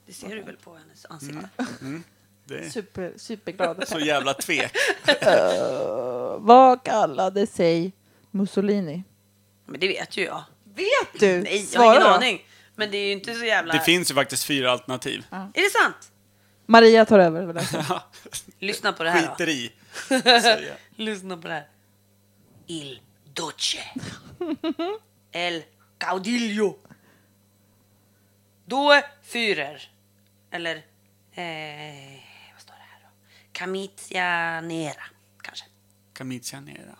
S3: Det ser du väl på hennes ansikte?
S6: Mm.
S1: Det är
S6: Super, superglad.
S1: så jävla tvek.
S6: Vad kallade sig Mussolini?
S3: Men det vet ju jag.
S6: Vet du?
S3: Nej, jag
S6: Mm. Svara
S3: har ingen
S6: då.
S3: aning. Men det är ju inte så jävla...
S1: Det finns ju faktiskt fyra alternativ.
S3: Är det sant?
S6: Maria tar över. med det.
S3: Lyssna på det här
S1: Skiter i.
S3: då. Lyssna på det här. Il Duce. El Caudillo. Då Führer. Eller eh, vad står det här då? Camitia Nera kanske.
S1: Camitia nera.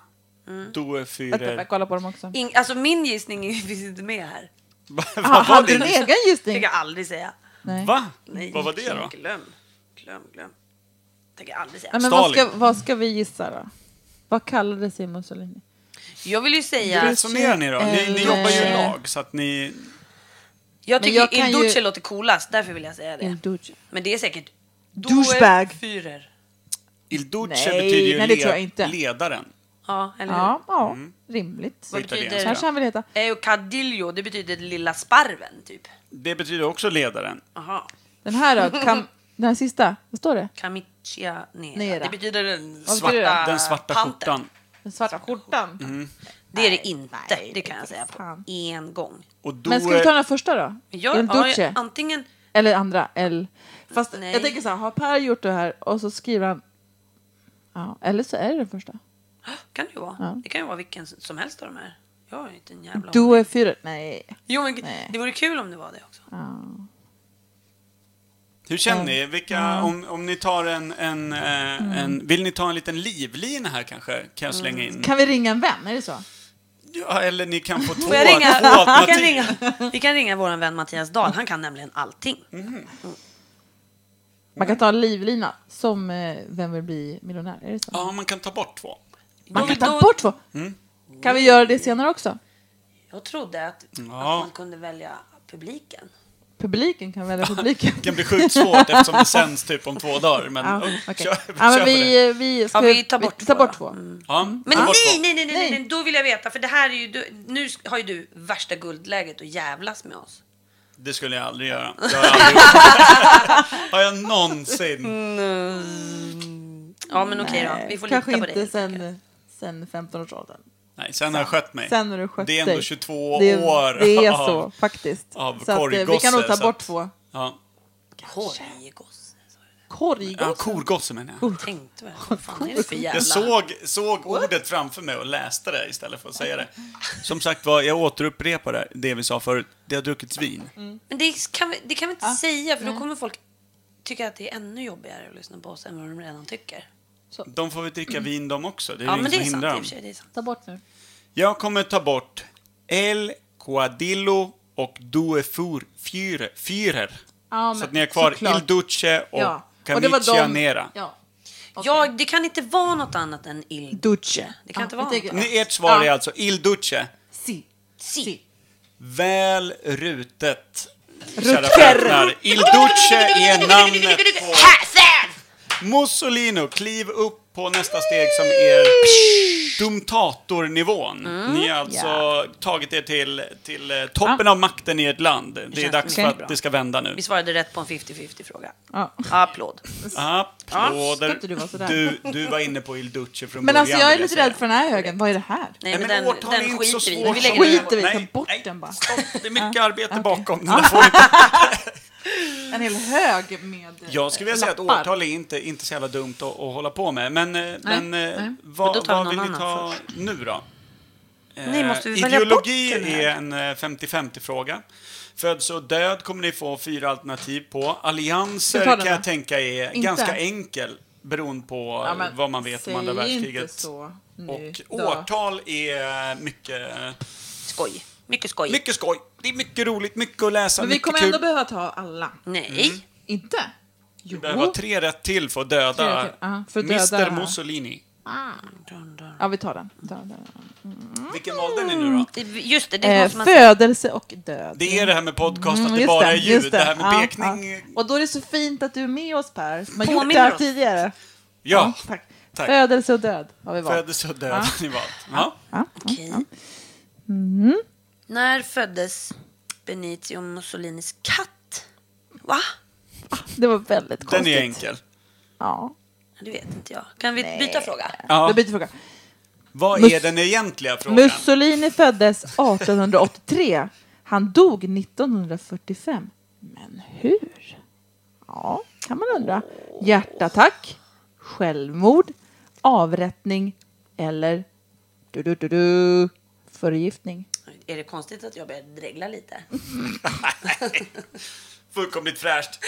S3: Mm.
S1: Due
S6: Vänta,
S1: Führer.
S6: jag kollar på dem också.
S3: In, alltså min gissning är ju- finns inte med här.
S1: Vad
S6: Ah,
S1: var
S6: hade du en
S1: det?
S6: egen
S3: Det
S6: gissning?
S3: kan jag aldrig säga.
S6: Nej.
S1: Va?
S3: Nej,
S1: Vad var det då?
S3: Glöm, glöm, glöm. Tänker jag aldrig säga.
S6: Nej, men vad, ska,
S1: Stalin.
S6: vad ska vi gissa då? Vad kallade sig Mussolini?
S3: Jag vill ju
S1: Hur
S3: säga...
S1: resonerar ni då? Ni, ni
S6: Eller-
S1: jobbar ju i lag, så att ni...
S3: Jag tycker
S6: jag
S3: jag
S6: kan
S3: Il Duce
S6: ju-
S3: låter coolast, därför vill jag säga det.
S6: Indulge.
S3: Men det är säkert...
S6: Douchebag.
S3: Due Führer.
S1: Il Duce
S6: Nej,
S1: betyder ju
S6: nej, det tror jag inte.
S1: ledaren.
S3: Ja, eller hur?
S6: Ja, ja rimligt.
S1: På
S3: Vad betyder-
S1: italienska.
S6: Kanske han vill heta.
S3: Eucadillo, det betyder lilla sparven, typ.
S1: Det betyder också ledaren.
S3: Aha.
S6: Den här då? Kam, den här sista? Vad står det?
S3: Camicia nera.
S6: Nera.
S3: Det betyder den
S6: Vad
S1: Svarta,
S6: betyder det?
S3: svarta,
S1: den svarta
S3: panten.
S1: skjortan.
S6: Den svarta skjortan?
S3: Det är det inte, det kan jag
S6: inte
S3: säga på
S6: fan.
S3: en gång.
S1: Och då
S6: Men ska vi ta den första då?
S3: Jag,
S6: El
S3: ja,
S6: Duce?
S3: jag, antingen...
S6: Eller andra L. Fast
S3: Nej.
S6: jag tänker så här, har Per gjort det här och så skriver han... Ja, eller så är det den första.
S3: kan det ju vara.
S6: Ja.
S3: Det kan ju vara vilken som helst av de här. Jag har ju inte en jävla
S6: Du är fyra... Nej.
S3: Jo, men
S6: Nej.
S3: det vore kul om det var det också.
S6: Ja.
S1: Hur känner ni? Vilka, om, om ni tar en, en, eh,
S6: Mm.
S1: en... Vill ni ta en liten livlina här kanske? Kan jag slänga in?
S6: Kan vi ringa en vän? Är det så?
S1: Ja, eller ni kan få två,
S3: Får jag ringa?
S1: två
S3: Vi kan
S1: alternativ.
S3: ringa, vi kan ringa vår vän Mattias Dahl. Han kan nämligen allting.
S1: Mm.
S6: Man kan ta en livlina som eh, Vem vill bli miljonär? Är det så?
S1: Ja, man kan ta bort två.
S6: Man
S3: Då-
S6: kan ta
S3: då-
S6: bort två.
S1: Mm.
S6: Kan vi göra det senare också?
S3: Jag trodde att,
S1: Ja.
S3: att man kunde välja publiken.
S6: Publiken kan välja publiken.
S1: Det kan bli sjukt svårt eftersom det sänds typ om två dagar. Men
S6: Ja,
S1: oh,
S6: okej.
S1: kör,
S6: ja,
S1: kör
S6: men
S1: på det.
S6: vi, vi, ska,
S3: Ja, vi tar
S6: tar
S3: bort två Mm.
S6: bort
S3: då.
S6: två.
S1: Ja,
S3: Men
S1: ta bort
S3: nej,
S1: två.
S3: nej, nej, nej, nej,
S6: Nej.
S3: nej, då vill jag veta. För det här är ju, du, nu har ju du värsta guldläget att jävlas med oss.
S1: Det skulle jag aldrig göra. Jag har, aldrig gjort det. har jag
S6: Mm.
S1: någonsin?
S3: Ja, men okej då. Vi får
S6: Kanske
S3: lita på
S6: inte
S3: dig. tycker
S6: sen, sen 15-årsåldern.
S1: Nej, sen har jag skött mig.
S6: Sen har du skött
S1: det är ändå
S6: dig.
S1: 22
S6: det,
S1: år
S6: Det är
S1: av-
S6: så, faktiskt.
S1: av
S6: så att, eh, vi
S1: korggosse,
S6: kan nog ta
S1: så
S6: bort
S1: att-
S6: två.
S1: Ja.
S3: jag. Korggosse.
S1: Ja,
S6: Korggosse?
S1: korgosse menar jag.
S6: Oh,
S3: Jag Tänkte väl. Vad fan är det för jävla...
S1: Jag såg, såg ordet framför mig och läste det istället för att säga det. Som sagt var, jag återupprepar det, det vi sa förut. Det har druckits vin.
S6: Mm.
S3: Men det kan, vi, det kan vi inte säga, för då kommer folk tycka att det är ännu jobbigare att lyssna på oss än vad de redan tycker.
S1: De får väl dricka vin de också. Det är
S3: Ja,
S1: ju
S3: men
S1: ingen
S3: det
S1: som
S3: är sant.
S1: hindrar
S3: i och för
S1: dem.
S3: sig, Det är sant.
S6: Ta bort nu.
S1: Jag kommer ta bort El Coadillo och Due Fur, Führer. Führer.
S6: Ja,
S1: så
S6: men
S1: att ni har kvar
S6: såklart.
S1: Il Duce och
S6: Ja. Och det var
S1: Camicia
S6: de-
S1: Nera.
S6: Ja.
S3: Ja, det kan inte vara något annat än il...
S6: Duce.
S3: Det kan inte vara något.
S1: Ni, ert svar
S6: Ja.
S1: är alltså Il Duce.
S6: Si.
S3: Si.
S1: Väl rutet, kära fräknar. Il Duce är namnet på... Mussolino, kliv upp på nästa steg som är dumtatornivån.
S6: Mm,
S1: Ni har alltså tagit er till, till eh, toppen av makten i ert land. Det är
S3: känns
S1: dags för
S6: mycket
S1: att det ska vända nu.
S3: Vi svarade rätt på en 50-50 fråga.
S6: Ja.
S3: Applåd.
S1: Applåder.
S6: ska inte du vara sådär?
S1: du, du var inne på Il Duce från
S6: Men
S1: början.
S6: alltså jag är
S1: vill
S6: lite
S1: säga.
S6: rädd för den här högen. Vad är det här?
S3: Nej, men,
S1: men
S3: den,
S1: årtal är
S3: den
S1: inte så
S3: skiter vi i.
S1: svårt.
S3: Vi lägger den
S6: Skiter
S3: där
S6: vi,
S1: Nej,
S6: ta bort
S1: nej.
S6: den bara. Ah,
S1: Stopp, det är mycket arbete bakom. Den där får inte...
S6: En hel hög med
S1: Jag skulle vilja säga att
S6: lappar.
S1: årtal är inte, inte så jävla dumt att, att hålla på med. Men, eh, men eh,
S6: nej.
S1: vad,
S3: Men då tar vi
S1: vad
S3: någon
S1: vill ni
S3: annan
S1: ta nu då? Eh,
S3: Nej, måste vi välja bort
S1: ideologi
S3: den här?
S1: är en eh, 50-50-fråga. Födsel och död kommer ni få fyra alternativ på. Allianser
S6: Ska vi ta den
S1: kan jag
S6: då?
S1: tänka är
S6: Inte.
S1: ganska enkel beroende på
S6: Ja, men
S1: vad man vet om
S6: säg
S1: andra
S6: inte
S1: världskriget.
S6: så nu
S1: Och
S6: då.
S1: årtal är mycket,
S3: Skoj. Mycket skoj.
S1: mycket skoj. Det är mycket roligt, mycket att läsa,
S6: Men vi
S1: mycket
S6: kommer
S1: kul.
S6: ändå behöva ta alla.
S3: Nej.
S6: Inte?
S1: Vi
S6: Jo.
S1: behöver ha tre rätt till för att döda,
S6: Oh. Tre rätt till, aha, för att
S1: Mr
S6: döda-
S1: Mussolini. Mm.
S6: Ja, vi tar den. Ta den.
S1: Vilken valde ni nu då?
S3: Det- Just det, det
S6: Eh,
S3: måste man säga.
S6: födelse och död.
S1: Det är det här med podcast,
S6: Mm,
S1: att det
S6: just
S1: bara är ljud. Det.
S6: just
S1: här med
S6: Ja,
S1: pekning.
S6: ja. Och då är det så fint att du är med oss Per, som har
S3: Påminner
S6: gjort det här
S3: oss.
S6: tidigare.
S1: Ja,
S6: tack.
S1: tack.
S6: Födelse och död har vi valt.
S1: födelse och död har ni valt. Ja.
S6: Ja.
S3: Okej.
S6: Mm.
S3: När föddes Benicio Mussolinis katt? Va?
S6: Det var väldigt
S1: Den
S6: konstigt.
S1: är enkel.
S6: Ja.
S3: Det vet inte jag. Kan vi byta fråga?
S1: Ja.
S6: Då byter vi fråga.
S1: Vad
S6: Mus-
S1: är den egentliga frågan?
S6: Mussolini föddes 1883. Han dog 1945. Men hur? Ja, kan man undra. Hjärtattack, självmord, avrättning eller du, du, du, du, förgiftning.
S3: Är det konstigt att jag börjar dregla lite?
S1: Fullkomligt fräscht.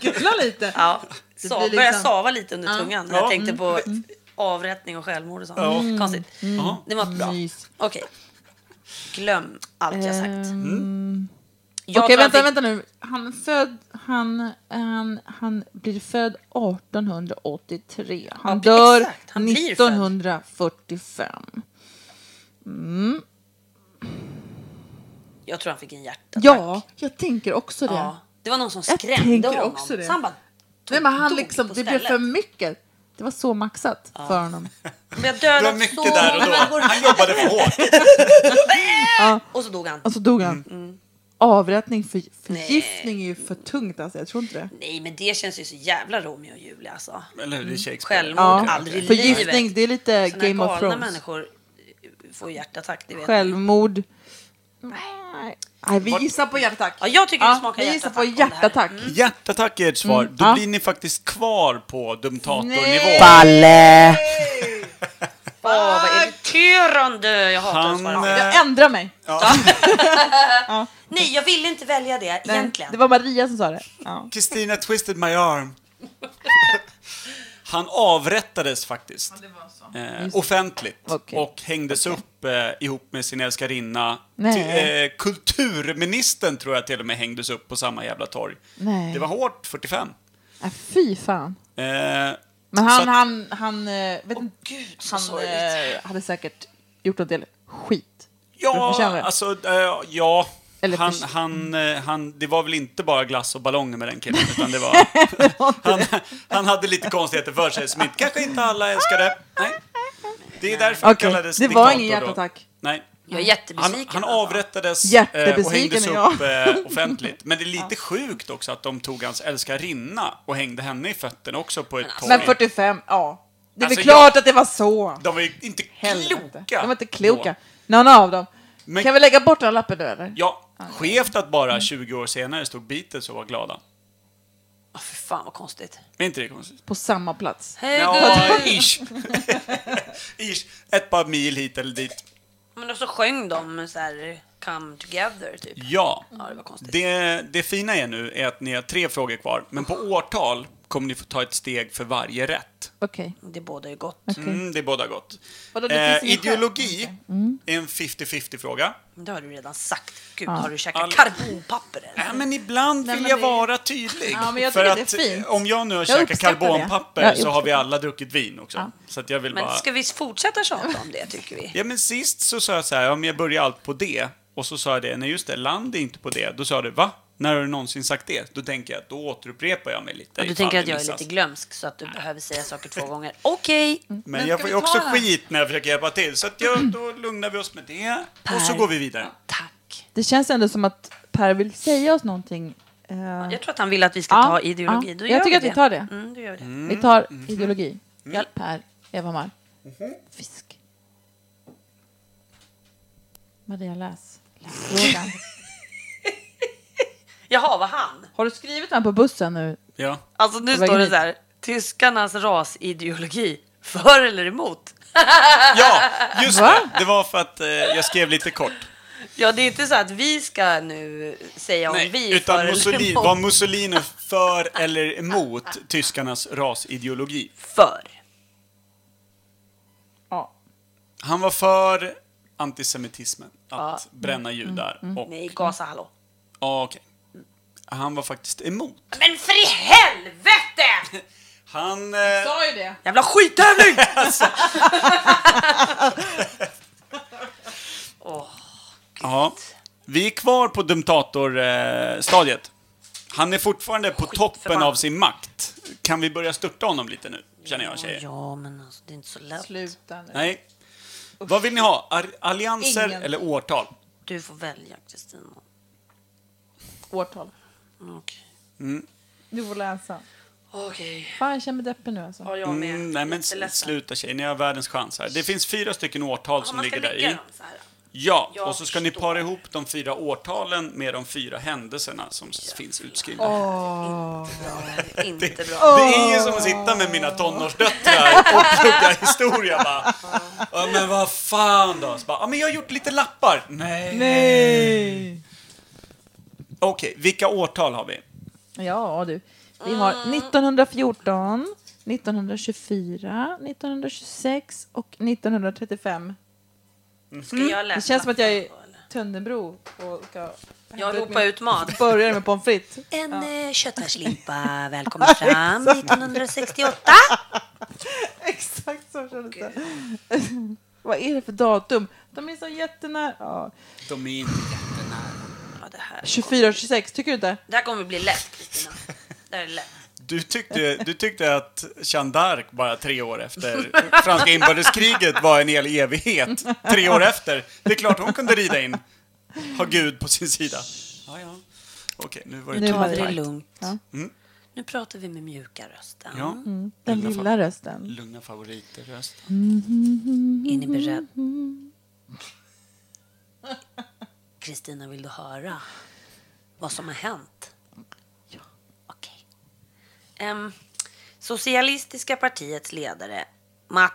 S6: Gulla lite.
S3: Ja.
S6: Det
S3: Sa,
S6: blir
S3: Börjar
S6: liksom-
S3: sava lite under
S6: Ja.
S3: tungan när jag
S6: Ja.
S3: tänkte på
S6: Mm.
S3: avrättning och självmord och sånt.
S6: Ja. Mm.
S3: Konstigt.
S6: Mm.
S3: Det var bra. Okej. Glöm allt jag sagt.
S6: Ehm,
S3: Jag
S6: Okej,
S3: tror
S6: vänta,
S3: han fick-
S6: vänta nu. Han, är född, han, han, han blir född 1883. Han
S3: Ja,
S6: dör
S3: exakt. Han blir född.
S6: 1945. Mm.
S3: Jag tror han fick en hjärta.
S6: Ja, jag tänker också det.
S3: Ja. Det var någon som
S6: Jag
S3: skrämde
S6: tänker
S3: honom.
S6: också det.
S3: Så han bara
S6: Nej, men han
S3: dog
S6: liksom,
S3: på
S6: det blev
S3: stället.
S6: för mycket. Det var så maxat för honom.
S3: Men jag dödat
S6: Det var mycket
S3: så
S6: där och
S3: många
S6: då.
S3: människor.
S6: Han jobbade för hårt. Ja.
S3: och så dog han.
S6: Och så dog han.
S3: Mm.
S6: Avrättning, för, förgiftning är ju för tungt alltså. Jag tror inte det.
S3: Nej, men det känns ju så jävla Romeo och Julia
S6: Eh,
S3: alltså.
S1: Eller hur, det är Shakespeare.
S3: Självmord,
S6: Ja.
S3: aldrig i
S6: Förgiftning,
S3: livet.
S6: det är lite
S3: Såna här
S6: Game of
S3: galna
S6: Thrones.
S3: människor eh, får hjärtattack, det vet
S6: Självmord. Nej, vi gissar på hjärtattack.
S3: Ja, jag tycker det smakar
S6: Vi gissar på hjärtattack.
S1: Hjärtattack är ert svar. Då
S6: Mm, Ja.
S1: blir ni faktiskt kvar på
S6: Nej.
S3: Mm.
S1: Dumtatornivå.
S6: Balle.
S3: Åh, vad irriterande! Jag hatar att
S1: Han, eh,
S3: svara.
S6: Jag ändrar mig.
S3: Nej, jag ville inte välja det
S6: Nej,
S3: egentligen.
S6: Det var Maria som sa det.
S1: Kristina twisted my arm. Han avrättades faktiskt. Eh,
S6: Just det.
S1: offentligt. Och hängdes upp eh, ihop med sin älskarinna.
S6: Nej.
S1: Till, eh, kulturministern tror jag till och med hängdes upp på samma jävla torg.
S6: Nej.
S1: Det var hårt, 45.
S6: Äh, fy fan.
S1: Eh,
S6: Men
S1: så
S6: han,
S1: att-
S6: han, han, eh, vet inte, han
S3: sorgligt.
S6: eh, hade säkert gjort en del skit. Du förtjänar
S1: Ja,
S6: det.
S1: alltså, eh, ja.
S6: Eller
S1: han,
S6: förs-
S1: han, eh, han, det var väl inte bara glass och ballonger med den killen, utan det var... han, han hade lite konstigheter för sig som inte, kanske inte alla älskade. Nej. Det är därför han
S6: Okej,
S1: kallades
S6: det var
S1: diktator
S6: ingen
S1: då.
S6: hjärtattack.
S1: Nej.
S3: Jag är jättebesviken
S1: Han, han avrättades eh, och
S6: Jättebesviken
S1: hängdes
S6: är jag.
S1: upp eh, offentligt. Men det är lite sjukt också att de tog hans älskarinna och hängde henne i fötterna också på ett torg.
S6: Men 45, ja. Det är
S1: Alltså,
S6: väl klart
S1: jag-
S6: att det var så.
S1: De var ju inte
S6: Helvete.
S1: kloka.
S6: De var inte kloka. Någon av dem.
S1: Men-
S6: Kan vi lägga bort den här lappen nu eller?
S1: Ja, skevt att bara 20 år senare stod Beatles och var glada.
S3: Åh, för fan vad konstigt.
S1: Är inte det konstigt?
S6: På samma plats.
S3: Hej
S1: Ja, ish. ish. Ett par mil hit eller dit.
S3: Men och så sjöng de så här Come Together typ.
S1: Ja.
S3: Ja, det var konstigt.
S1: Det, det fina är nu är att ni har tre frågor kvar, men på årtal kommer ni få ta ett steg för varje rätt.
S6: Okej.
S3: Det båda är gott.
S1: Mm, det är båda gott.
S3: Vadå, det
S1: Eh,
S3: finns inget skäl?
S1: ideologi är en 50-50 fråga.
S3: Men Det har du redan sagt. Gud,
S1: Ja.
S3: har du käkat
S1: All- Äh,
S3: karbonpapper eller?
S1: Ja, men ibland
S3: Nej,
S1: vill
S3: men
S1: jag
S3: det-
S1: vara tydlig.
S3: Ja, men jag
S1: för
S3: tycker
S1: att
S3: det är fint.
S1: eh, om jag nu har
S3: Jag
S1: käkat
S3: uppskattar det.
S1: karbonpapper
S3: Jag
S1: så har vi alla druckit vin också. Så att jag vill bara...
S3: Men ska vi fortsätta tjata om det tycker vi?
S1: Ja, men sist så sa jag så här, ja, men jag börjar allt på det. Och så sa jag det, nej just det, land är inte på det. Då sa du, va? När har du någonsin sagt det? Då tänker jag, då återupprepar jag mig lite.
S3: Och du
S1: ifall
S3: tänker
S1: det
S3: att jag är
S1: missas.
S3: lite glömsk så att du behöver säga saker två gånger. Okej.
S1: Men jag får ju också skit när jag försöker hjälpa till. Så att jag, då lugnar vi oss med det. Och så
S3: Per.
S1: går vi vidare.
S6: Det känns ändå som att Per vill säga oss någonting. eh,
S3: Jag tror att han vill att vi ska
S6: Ja,
S3: ta ideologi.
S6: ja.
S3: Då
S6: Jag
S3: gör
S6: tycker att vi tar det.
S3: Mm, då gör vi det.
S6: Vi tar
S1: Mm,
S6: ideologi. Per, Evhammar.
S1: Mhm.
S6: Fisk. Maria, läs. läs frågan.
S3: Jaha, vad han?
S6: Har du skrivit den på bussen nu?
S1: Ja.
S3: Alltså nu
S6: På vägen
S3: står det
S6: hit.
S3: så här. Tyskarnas rasideologi. För eller emot?
S1: Ja, just det. Det var för att eh, jag skrev lite kort.
S3: Ja, det är inte så att vi ska nu säga om vi är för
S1: Utan
S3: eller
S1: Mussolini,
S3: emot.
S1: var Mussolini för eller emot tyskarnas rasideologi?
S3: För.
S6: Ja.
S1: Han var för antisemitismen, att bränna
S3: Mm,
S1: judar. Och,
S3: Nej, gasa hallå.
S1: ja, okej. Han var faktiskt emot.
S3: Men för i helvete!
S1: Han...
S6: sa ju det.
S3: Jävla skittävling!
S1: Ja. Vi är kvar på Dumtator-stadiet. Han är fortfarande på toppen av sin makt. Kan vi börja störta honom lite nu, känner jag tjejer?
S3: Ja, men alltså, det är inte så lätt.
S6: Sluta nu.
S1: Nej. Vad vill ni ha? Ar- Allianser
S3: Ingen.
S1: eller årtal?
S3: Du får välja, Kristina.
S6: Årtal.
S3: Okej.
S1: Mm.
S6: Du får läsa.
S3: Okej.
S6: Fan, jag känner mig deppig nu alltså.
S3: jag med.
S1: Mm, nej men s- sluta tjejer, ni har världens chans här. Det finns fyra stycken årtal som
S3: man ska
S1: ligger där
S3: lägga
S1: i.
S3: dem så här.
S1: Ja,
S3: Jag
S1: och så ska ni para ihop de fyra årtalen med de fyra händelserna som finns utskrivna.
S3: Inte
S1: Det är ju som att sitta med mina tonårsdöttrar och plugga historia. Bara, ja, men vad fan då? Så bara, ja, men jag har gjort lite lappar. Nej.
S6: Nej.
S1: Okej, vilka årtal har vi?
S6: Ja, du. Vi har
S3: Ah.
S6: 1914, 1924, 1926 och 1935.
S3: Ska jag läsa?
S6: Det känns som att jag är Tönnebro och ska...
S3: Jag ropar ut mat.
S6: Börjar med pommes frites.
S3: En eh, köttfärslimpa, välkommen fram 1968.
S6: Exakt så kändes det. Vad är det för datum? De är så jättenära. Ja.
S1: De är inte jättenära.
S3: Ja, det, här.
S6: 24 och 26, tycker du inte?
S3: det här kommer bli lätt, Kristina. Det här är lätt.
S1: Du tyckte, du tyckte att Jeanne d'Arc bara tre år efter franska inbördeskriget var en hel evighet. Tre år efter. Det är klart hon kunde rida in. Ha Gud på sin sida. Ja, ja. Okej, nu var det
S3: Nu tar vi
S1: tungt.
S3: det lugnt.
S6: Ja.
S1: Mm.
S3: Nu pratar vi med mjuka rösten.
S1: Ja.
S6: Den
S1: Lugna
S6: lilla rösten.
S1: Lugna favoriter röst.
S3: Är ni beredd? Kristina, vill du höra vad som har hänt? Ja. Okej. Ehm, Socialistiska partiets ledare Matt...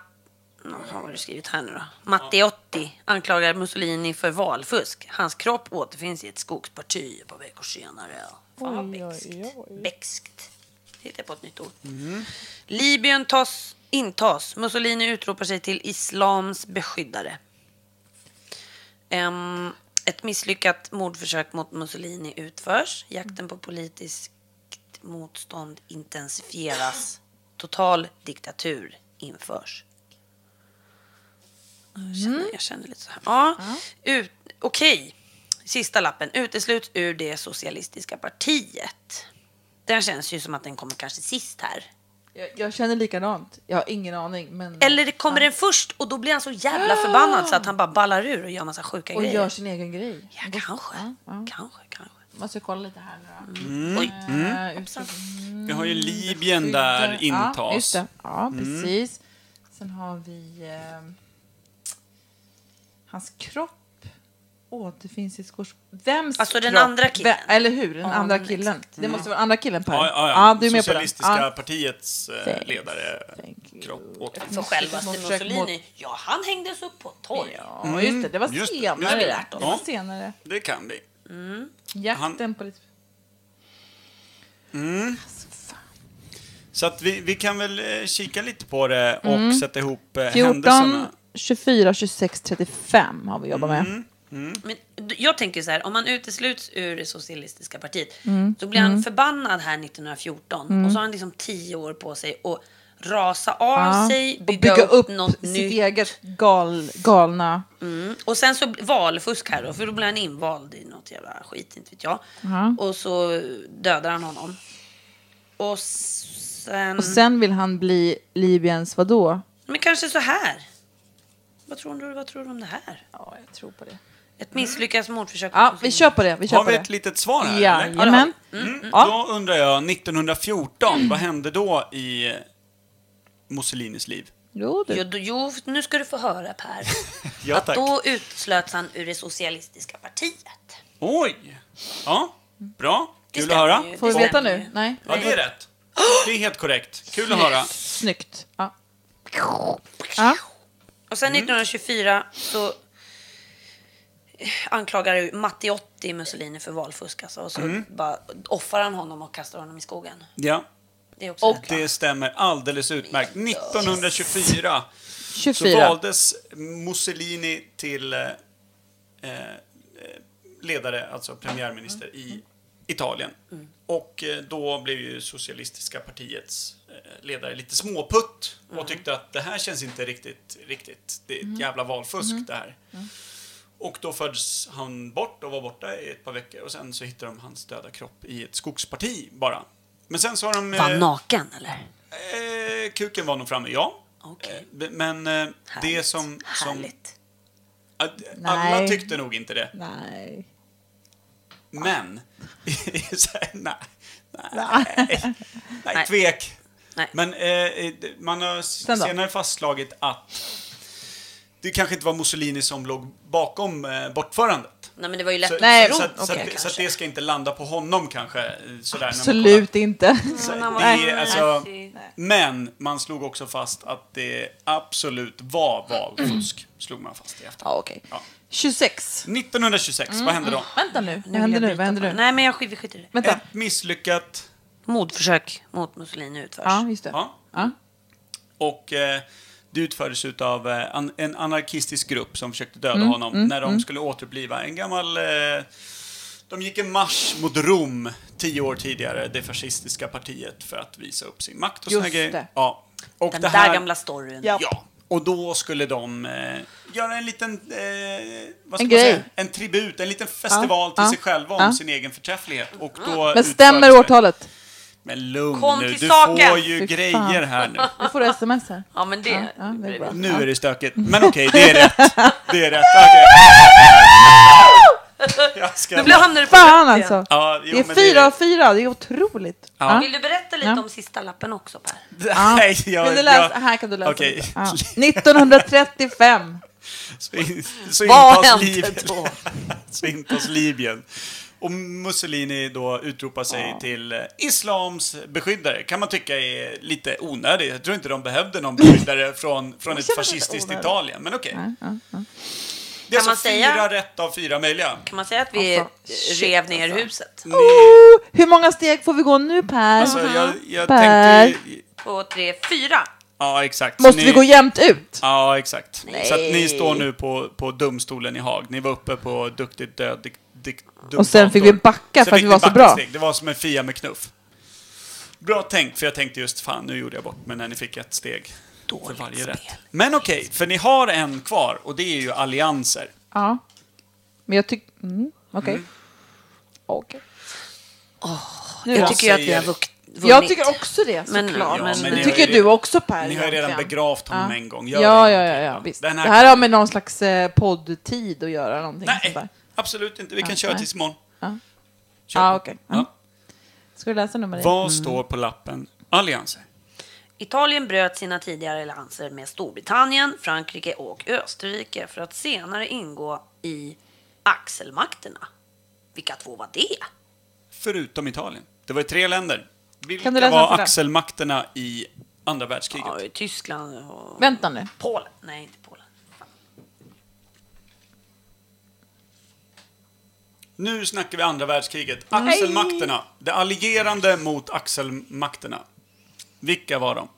S3: Nå, Vad har du skrivit här nu då? Matteotti anklagar Mussolini för valfusk. Hans kropp återfinns i ett skogsparti ett par veckor senare. Fan vad
S6: Oj, oj,
S3: bäskt. Bäskt. Hittar jag på ett nytt ord. Libyen tas, intas. Mussolini utropar sig till islams beskyddare. Ehm, ett misslyckat mordförsök mot Mussolini utförs. Jakten på politiskt motstånd intensifieras. Total diktatur införs. Jag känner, jag känner lite så här. Ja. Ut, Okej. Sista lappen. Utesluts ur det socialistiska partiet. Den känns ju som att den kommer kanske sist här.
S6: Jag, jag känner likadant. Jag har ingen aning. Men...
S3: Eller kommer den först och då blir han så jävla förbannad så att han bara ballar ur och gör massa sjuka
S6: Och
S3: grejer.
S6: gör sin egen grej.
S3: Ja, kanske. Kanske, kanske.
S6: Måste kolla lite här nu då.
S3: Oj. Mm.
S6: Eh, utsidan.
S1: Vi har ju Libyen där intas.
S6: Mm, Ja, just det. ja
S1: Mm.
S6: precis. Sen har vi eh, hans kropp återfinns i skors... Vems
S3: Alltså den
S6: kropp?
S3: andra killen.
S6: Ve- eller hur, den
S3: Ja,
S6: andra
S3: men Mm.
S6: killen. Det måste vara den andra killen Per.
S1: Ja, ja, ja.
S6: du är med på den.
S1: Socialistiska
S6: Ja.
S1: partiets eh,
S6: Thanks.
S1: ledare
S6: Thank you.
S1: kropp åter.
S3: För självaste
S6: Försök mot-
S3: Mussolini, ja han hängdes upp på ett torg.
S6: Ja, just det. Det var
S1: Mm, just det.
S6: senare.
S1: Just
S6: Det,
S1: det.
S6: var
S1: Ja.
S6: senare.
S1: Det kan vi.
S6: Jakten på lite...
S1: Så att vi, vi kan väl eh, kika lite på det och
S6: Mm.
S1: sätta ihop eh,
S6: 14,
S1: händelserna. Mm.
S6: 24, 26, 35 har vi jobbat med.
S3: Men d- jag tänker så här, om man utesluts ur det socialistiska partiet
S6: Mm.
S3: så blir han förbannad här 1914 och så har han liksom tio år på sig att rasa av
S6: Ja.
S3: sig,
S6: Och
S3: bygga, upp, något
S6: sitt
S3: nytt.
S6: eget gal, galna...
S3: Mm. Och sen så valfusk här då, för då blir han invald i något jävla skit, inte vet jag.
S6: Ja.
S3: Och så dödar han honom. Och sen...
S6: Och sen vill han bli Libyens vadå?
S3: Men kanske så här. Vad tror du, vad tror du om det här?
S6: Ja, jag tror på det.
S3: Ett misslyckat mordförsök.
S6: Ja, vi kör på det. Vi kör
S1: Har
S6: på
S1: vi
S6: det.
S1: ett litet svar här? eller?
S6: Jajamän.
S1: Mm.
S6: Ja. Mm.
S1: Då undrar jag, 1914, vad hände då i eh, Mussolinis liv?
S6: Jo,
S3: Jo,
S6: du.
S3: då- jo, nu ska du få höra Per.
S1: Ja,
S3: att
S1: tack.
S3: då utslöts han ur det socialistiska partiet.
S1: Oj! Ja, bra.
S3: Det
S1: Kul att
S3: stämmer
S1: höra.
S3: ju.
S6: Får vi
S3: Det
S6: veta
S3: stämmer
S6: nu?
S3: ju.
S6: Nej.
S1: Ja, det är rätt. Det är helt korrekt. Kul att höra.
S6: Snyggt. Ja. Ja.
S3: Och
S1: Mm.
S3: sen 1924 så eh, anklagar ju Matteotti Mussolini för valfusk alltså, och så
S1: Mm.
S3: bara offrar han honom och kastar honom i skogen.
S1: Ja,
S3: Det är också
S1: och
S3: rätt, va?
S1: det stämmer alldeles utmärkt. 1924 så
S6: 24.
S1: valdes Mussolini till eh, eh, ledare, alltså premiärminister i Italien. Och eh, då blev ju socialistiska partiets eh, ledare lite småputt och tyckte att det här känns inte riktigt, riktigt. Det är ett jävla valfusk det här. Och då föddes han bort och var borta i ett par veckor och sen så hittade de hans döda kropp i ett skogsparti bara. Men sen så har de...
S3: Var han
S1: eh,
S3: naken eller?
S1: Eh, kuken var nog framme, ja.
S3: Okej.
S1: Eh, b- Men eh, det
S3: Härligt.
S1: som... som
S3: Härligt.
S1: att, alla
S6: Nej.
S1: tyckte nog inte det.
S6: Nej.
S1: Men... så här, nej, nej, nej, tvek.
S3: Nej.
S1: Men eh, eh, man har s-
S6: Sen då?
S1: senare fastslagit att det kanske inte var Mussolini som låg bakom eh, bortförandet.
S3: Nej, men det var ju lätt
S1: så,
S3: att tro
S1: så, att- så,
S3: det
S1: att, så att
S3: kanske.
S1: det ska inte landa på honom kanske. eh, Sådär, När man
S6: Absolut inte.
S1: kollar.
S3: han var
S1: det
S3: ju
S1: är, alltså,
S3: nazi.
S1: men man slog också fast att det absolut var valfusk. Slog man fast i efterhand.
S6: Ja, okej. 26.
S1: 1926, vad hände
S3: Mm.
S1: då?
S6: Vänta nu. Vad händer nu? Vad händer nu?
S3: Nej, men jag skiter, vi skiter i det.
S6: Vänta.
S1: Ett misslyckat
S3: Mordförsök mot Mussolini utförs.
S6: Ja, just det.
S1: Ja.
S6: Ja.
S1: Och eh, det utfördes av eh, an, en anarkistisk grupp som försökte döda
S6: Mm,
S1: honom
S6: mm,
S1: när de
S6: mm.
S1: skulle återbliva en gammal... Eh, de gick en marsch mot Rom tio år tidigare, det fascistiska partiet, för att visa upp sin makt och
S3: Just
S1: såna grejer.
S3: det.
S1: Ja. Och
S3: Den
S1: det
S3: där
S1: här,
S3: gamla storyn.
S1: Ja. Och då skulle de eh, göra en liten... Eh, vad ska
S6: En
S1: man
S6: grej.
S1: säga? En tribut, en liten festival till
S6: ja,
S1: sig själva om
S6: ja.
S1: sin egen förträfflighet. Och då
S6: Men stämmer
S1: utfördes det-
S6: årtalet?
S1: Men lugn
S3: Kom
S1: nu,
S3: till
S1: du
S3: saken!
S1: får
S6: Fy
S1: ju
S6: fan.
S1: grejer här nu.
S6: Jag får sms här.
S3: Ja, men det...
S6: Ja, ja, det är bra.
S1: Nu
S6: Ja.
S1: är det stökigt. Men okej, det är rätt. Det är rätt. Okej. Jag ska...
S3: Nu blir- hamnar du på
S6: Fan
S3: rätt
S6: alltså.
S1: Ja, jo,
S6: det är
S1: men
S6: fyra
S1: det-
S6: av fyra, det är otroligt.
S1: Ja.
S3: Vill du berätta lite
S6: Ja.
S3: om sista lappen också, Per?
S1: Nej, jag...
S6: Vill du läsa?
S1: jag-
S6: Här kan du läsa.
S1: Okej.
S6: lite. Ja. 1935.
S1: Så, in, så
S3: Vad
S1: intas
S3: hände
S1: Libyen.
S3: då?
S1: så intas Libyen. Och Mussolini då utropar sig till eh, islams beskyddare. Kan man tycka är lite onödigt. Jag tror inte de behövde någon beskyddare från, från ett
S6: känns lite
S1: fascistiskt
S6: onödigt.
S1: Italien. Men okej.
S6: Ja, ja, ja.
S1: Det är
S3: Kan man
S1: alltså
S3: säga-
S1: fyra rätt av fyra möjliga.
S3: Kan man säga att vi
S6: Alltså, shit,
S3: rev ner
S6: alltså.
S3: huset?
S6: Oh, hur många steg får vi gå nu Per?
S1: Alltså, jag, jag
S6: Per.
S1: tänkte... ju-
S3: Två, tre, fyra.
S1: Ja, exakt. Så
S6: Måste vi
S1: ni-
S6: gå jämnt ut?
S1: Ja, exakt.
S3: Nej.
S1: Så att ni står nu på, på domstolen i Haag. Ni var uppe på duktigt död dik, dik,
S6: Och sen fick vi backa
S1: Sen
S6: för att
S1: fick
S6: vi
S1: ni
S6: var så
S1: backa
S6: bra.
S1: steg. Det var som en fia med knuff. Bra tänkt, för jag tänkte just fan, nu gjorde jag bort mig när ni fick ett steg för varje rätt. Men okej, för ni har en kvar och det är ju allianser.
S6: Ja. Men jag tycker... Mm, Okej. Okej. Nu
S3: Jag
S6: då?
S3: tycker ju att vi
S1: säger-
S3: har vuk- vunnit.
S6: Jag tycker också det
S3: Men-
S6: såklart.
S3: ja, men-
S1: men
S6: det
S1: ni har ju
S6: tycker
S1: re-
S6: du också Per.
S1: Ni har ju redan
S6: egentligen.
S1: begravt honom
S6: Ja.
S1: en gång. Gör
S6: Ja,
S1: det
S6: ja,
S1: en
S6: ja,
S1: gång
S6: ja,
S1: till.
S6: visst.
S1: Den
S6: Det
S1: här
S6: här har med någon slags eh, poddtid att göra någonting. sånt
S1: Nej,
S6: där.
S1: absolut inte. Vi kan
S6: Ja,
S1: köra
S6: nej.
S1: tills imorgon.
S6: Ja.
S1: Kör.
S6: Ja, okej. Mm.
S1: Ja.
S6: Ja. Ska du läsa nummer ett?
S1: Vad står på lappen allianser?
S3: Italien bröt sina tidigare allianser med Storbritannien, Frankrike och Österrike för att senare ingå i axelmakterna. Vilka två var det?
S1: förutom Italien. Det var ju tre länder. Vilka
S6: Kan du läsa
S1: var
S6: nästa?
S1: axelmakterna i andra världskriget?
S3: Ja, Tyskland och
S6: Vänta nu.
S3: Polen. Nej, inte Polen. Fan.
S1: Nu snackar vi andra världskriget. Axelmakterna. Det allierande mot axelmakterna. Vilka var de?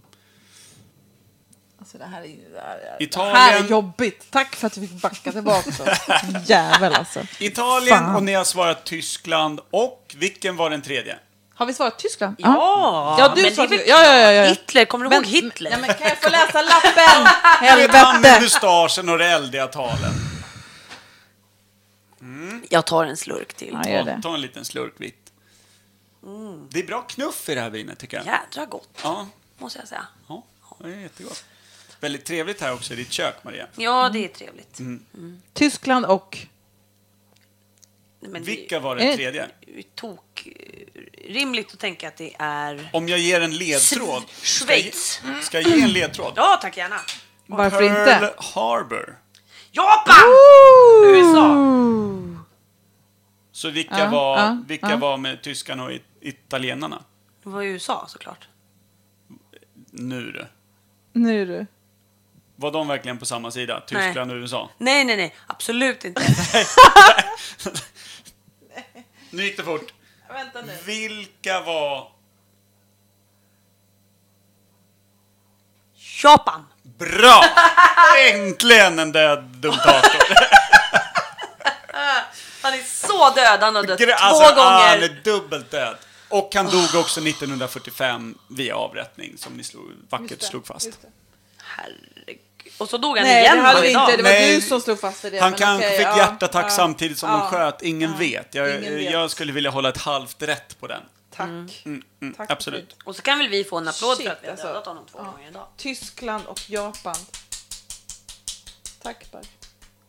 S6: Alltså det här är ju... Det här, är-
S1: Italien-
S6: det här är jobbigt. Tack för att vi fick backa tillbaka. också. Jävel alltså.
S1: Italien
S6: Fan.
S1: och ni har svarat Tyskland och vilken var den tredje?
S6: Har vi svarat Tyskland?
S3: Ja,
S6: Ja, du
S3: men
S6: sa
S3: det är väl
S6: Tyskland. Ja, ja, ja, ja.
S3: Hitler. Kommer du ihåg Hitler?
S6: Nej, men kan jag få läsa lappen?
S1: Han med
S6: Helvete!
S1: mustaschen och det eldiga talen.
S3: Jag tar en slurk till.
S6: Ja, gör
S1: Ja,
S6: det.
S1: ta en liten slurk vitt. Det är bra knuff i det här vinet tycker jag.
S3: Jädra gott,
S1: Ja,
S3: måste jag säga.
S1: ja, det är jättegott. Väldigt trevligt här också i ditt kök, Maria.
S3: Ja, det är trevligt.
S6: Tyskland och...
S3: Men
S1: Vilka var
S6: Är
S1: den
S6: det-
S1: tredje?
S3: Det är ju tok, rimligt att tänka att det är...
S1: Om jag ger en ledtråd.
S3: Schweiz. Mm.
S1: Ska jag, ska jag ge en ledtråd?
S3: Ja, tack gärna.
S6: Varför
S1: Pearl
S6: inte?
S1: Harbor.
S3: Japan! USA!
S1: Så vilka,
S6: Ja,
S1: var,
S6: ja,
S1: vilka
S6: ja.
S1: var med tyskarna och it- italienarna?
S3: Det var ju USA såklart.
S1: Nu du.
S6: Nu du.
S1: Var de verkligen på samma sida? Tyskland och USA?
S3: Nej, nej, nej. Absolut inte.
S1: Nu gick det fort.
S6: Vänta nu.
S1: Vilka var...
S3: Japan!
S1: Bra! Äntligen en död dumtator.
S3: Han är så död. Han har dött två
S1: han
S3: gånger. Ah.
S1: är alltså, dubbelt död. Och han dog också 1945 via avrättning, som ni slog, vackert slog fast.
S3: Herregud. Och så dog han
S6: Nej,
S3: igen
S6: det hade
S3: bara
S6: vi
S3: idag.
S6: inte. Det var
S1: Nej.
S6: du som slog fast i det.
S1: Han
S6: men
S1: kanske
S6: okej,
S1: fick
S6: ja,
S1: hjärtattack
S6: ja,
S1: samtidigt som
S6: ja,
S1: de sköt. Ingen vet. Jag,
S6: Ingen vet.
S1: jag skulle vilja hålla ett halvt rätt på den.
S6: Tack.
S1: Mm.
S6: Tack.
S1: Absolut.
S3: Och så kan väl vi få en applåd
S6: Shit,
S3: för att vi har
S6: alltså.
S3: dödat honom två gånger idag.
S6: Tyskland och Japan. Tack Per.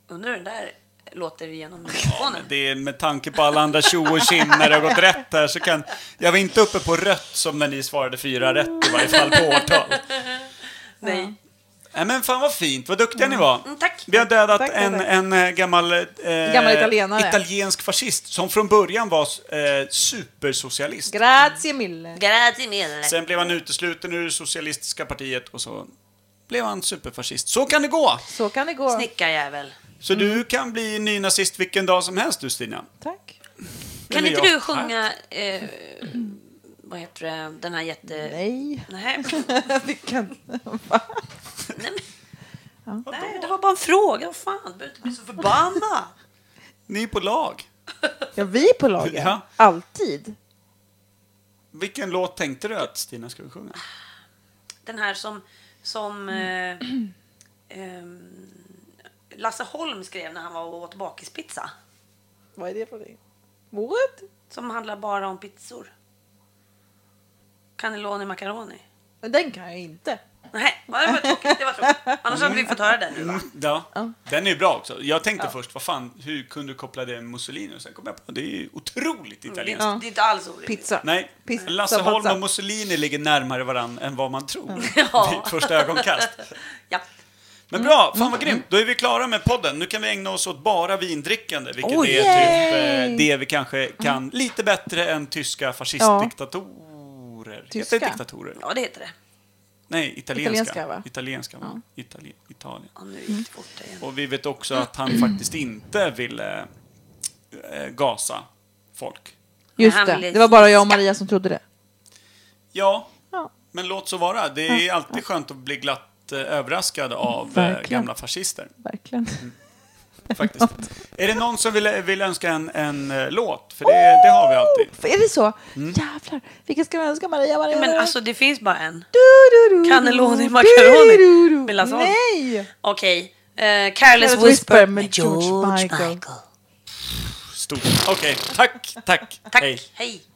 S3: Undrar hur den där låter genom
S1: Ja, men
S3: mikrofonen.
S1: det är med tanke på alla andra tjo och tjim när det har gått rätt här så kan... Jag var inte uppe på rött som när ni svarade fyra rätt i varje fall på årtal.
S3: Nej.
S1: Nej, men fan vad fint, vad duktiga ni var.
S3: Mm, tack.
S1: Vi har dödat
S3: Tack, tack,
S1: en,
S3: tack.
S1: en eh, gammal, eh,
S6: Gammal italienare.
S1: italiensk fascist som från början var eh, supersocialist.
S6: Grazie mille.
S3: Grazie mille.
S1: Sen blev han utesluten ur socialistiska partiet och så blev han superfascist. Så kan det gå!
S6: Så kan det gå.
S3: Snickarjävel.
S1: Så du kan bli nynazist vilken dag som helst du, Stina.
S6: Tack.
S3: Kan inte du sjunga... Eh, vad heter det? Den här jätte...
S6: Nej.
S3: Nej.
S6: det kan... Va?
S3: Nej, men... Nej, det var bara en fråga. Vad fan, du behöver inte bli så förbannad.
S1: Ni är på lag.
S6: Ja, vi är på lagen.
S1: Ja.
S6: Alltid.
S1: Vilken låt tänkte du att Stina skulle sjunga?
S3: Den här som, som eh, ehm, Lasse Holm skrev när han var och åt bakispizza.
S6: Vad är det för dig? What?
S3: Som handlar bara om pizzor. Cannelloni macaroni.
S6: Den kan jag inte.
S3: Nej, det var tråkigt. Det var tråkigt. Annars hade vi fått höra den nu va?
S1: Ja. Den är ju bra också. Jag tänkte först, vad fan, hur kunde du koppla det med Mussolini? Och sen kom jag på, det är ju otroligt
S3: Mm,
S1: italienskt.
S3: Det är inte alls orimligt.
S6: Pizza.
S1: Nej,
S6: Pizza,
S1: Lasse Holm
S6: pizza.
S1: och Mussolini ligger närmare varann än vad man tror
S3: Ja.
S1: vid första ögonkast.
S3: Ja.
S1: Men bra,
S6: Mm,
S1: fan vad grymt. Då är vi klara med podden. Nu kan vi ägna oss åt bara vindrickande, vilket
S6: Oh,
S1: är
S6: yay! Mm.
S1: typ eh, det vi kanske kan lite bättre än tyska fascistdiktatorer. Heter det
S6: Tyska.
S1: diktatorer?
S3: ja, det heter det.
S1: Nej, italienska.
S6: Italienska, va?
S1: Italienska, va? Itali- Italien.
S3: Ja, nu gick det fort där igen.
S1: Och vi vet också att han faktiskt inte ville eh, gasa folk.
S6: Just
S3: han
S6: det.
S3: blir
S6: Det var bara jag och Maria som trodde det.
S1: Ja,
S6: Ja.
S1: men låt så vara. Det är alltid skönt att bli glatt eh, överraskad av eh,
S6: Verkligen.
S1: gamla fascister.
S6: Verkligen.
S1: Mm. Faktiskt. Är det någon som vill, vill önska en, en eh, låt? För det, det har vi alltid. Mm.
S6: Är det så? Jävlar. Vilken ska vi önska Maria? Maria?
S3: Men alltså, det finns bara en.
S6: Du-du-du-du.
S3: Cannelloni macaroni
S6: Du-du-du-du.
S3: med lasagne.
S6: Nej!
S3: Okej. Eh, Careless
S6: Careless
S3: Whisper,
S6: Whisper med George Michael.
S1: Stort. Okej, tack, tack.
S3: Tack. Hej.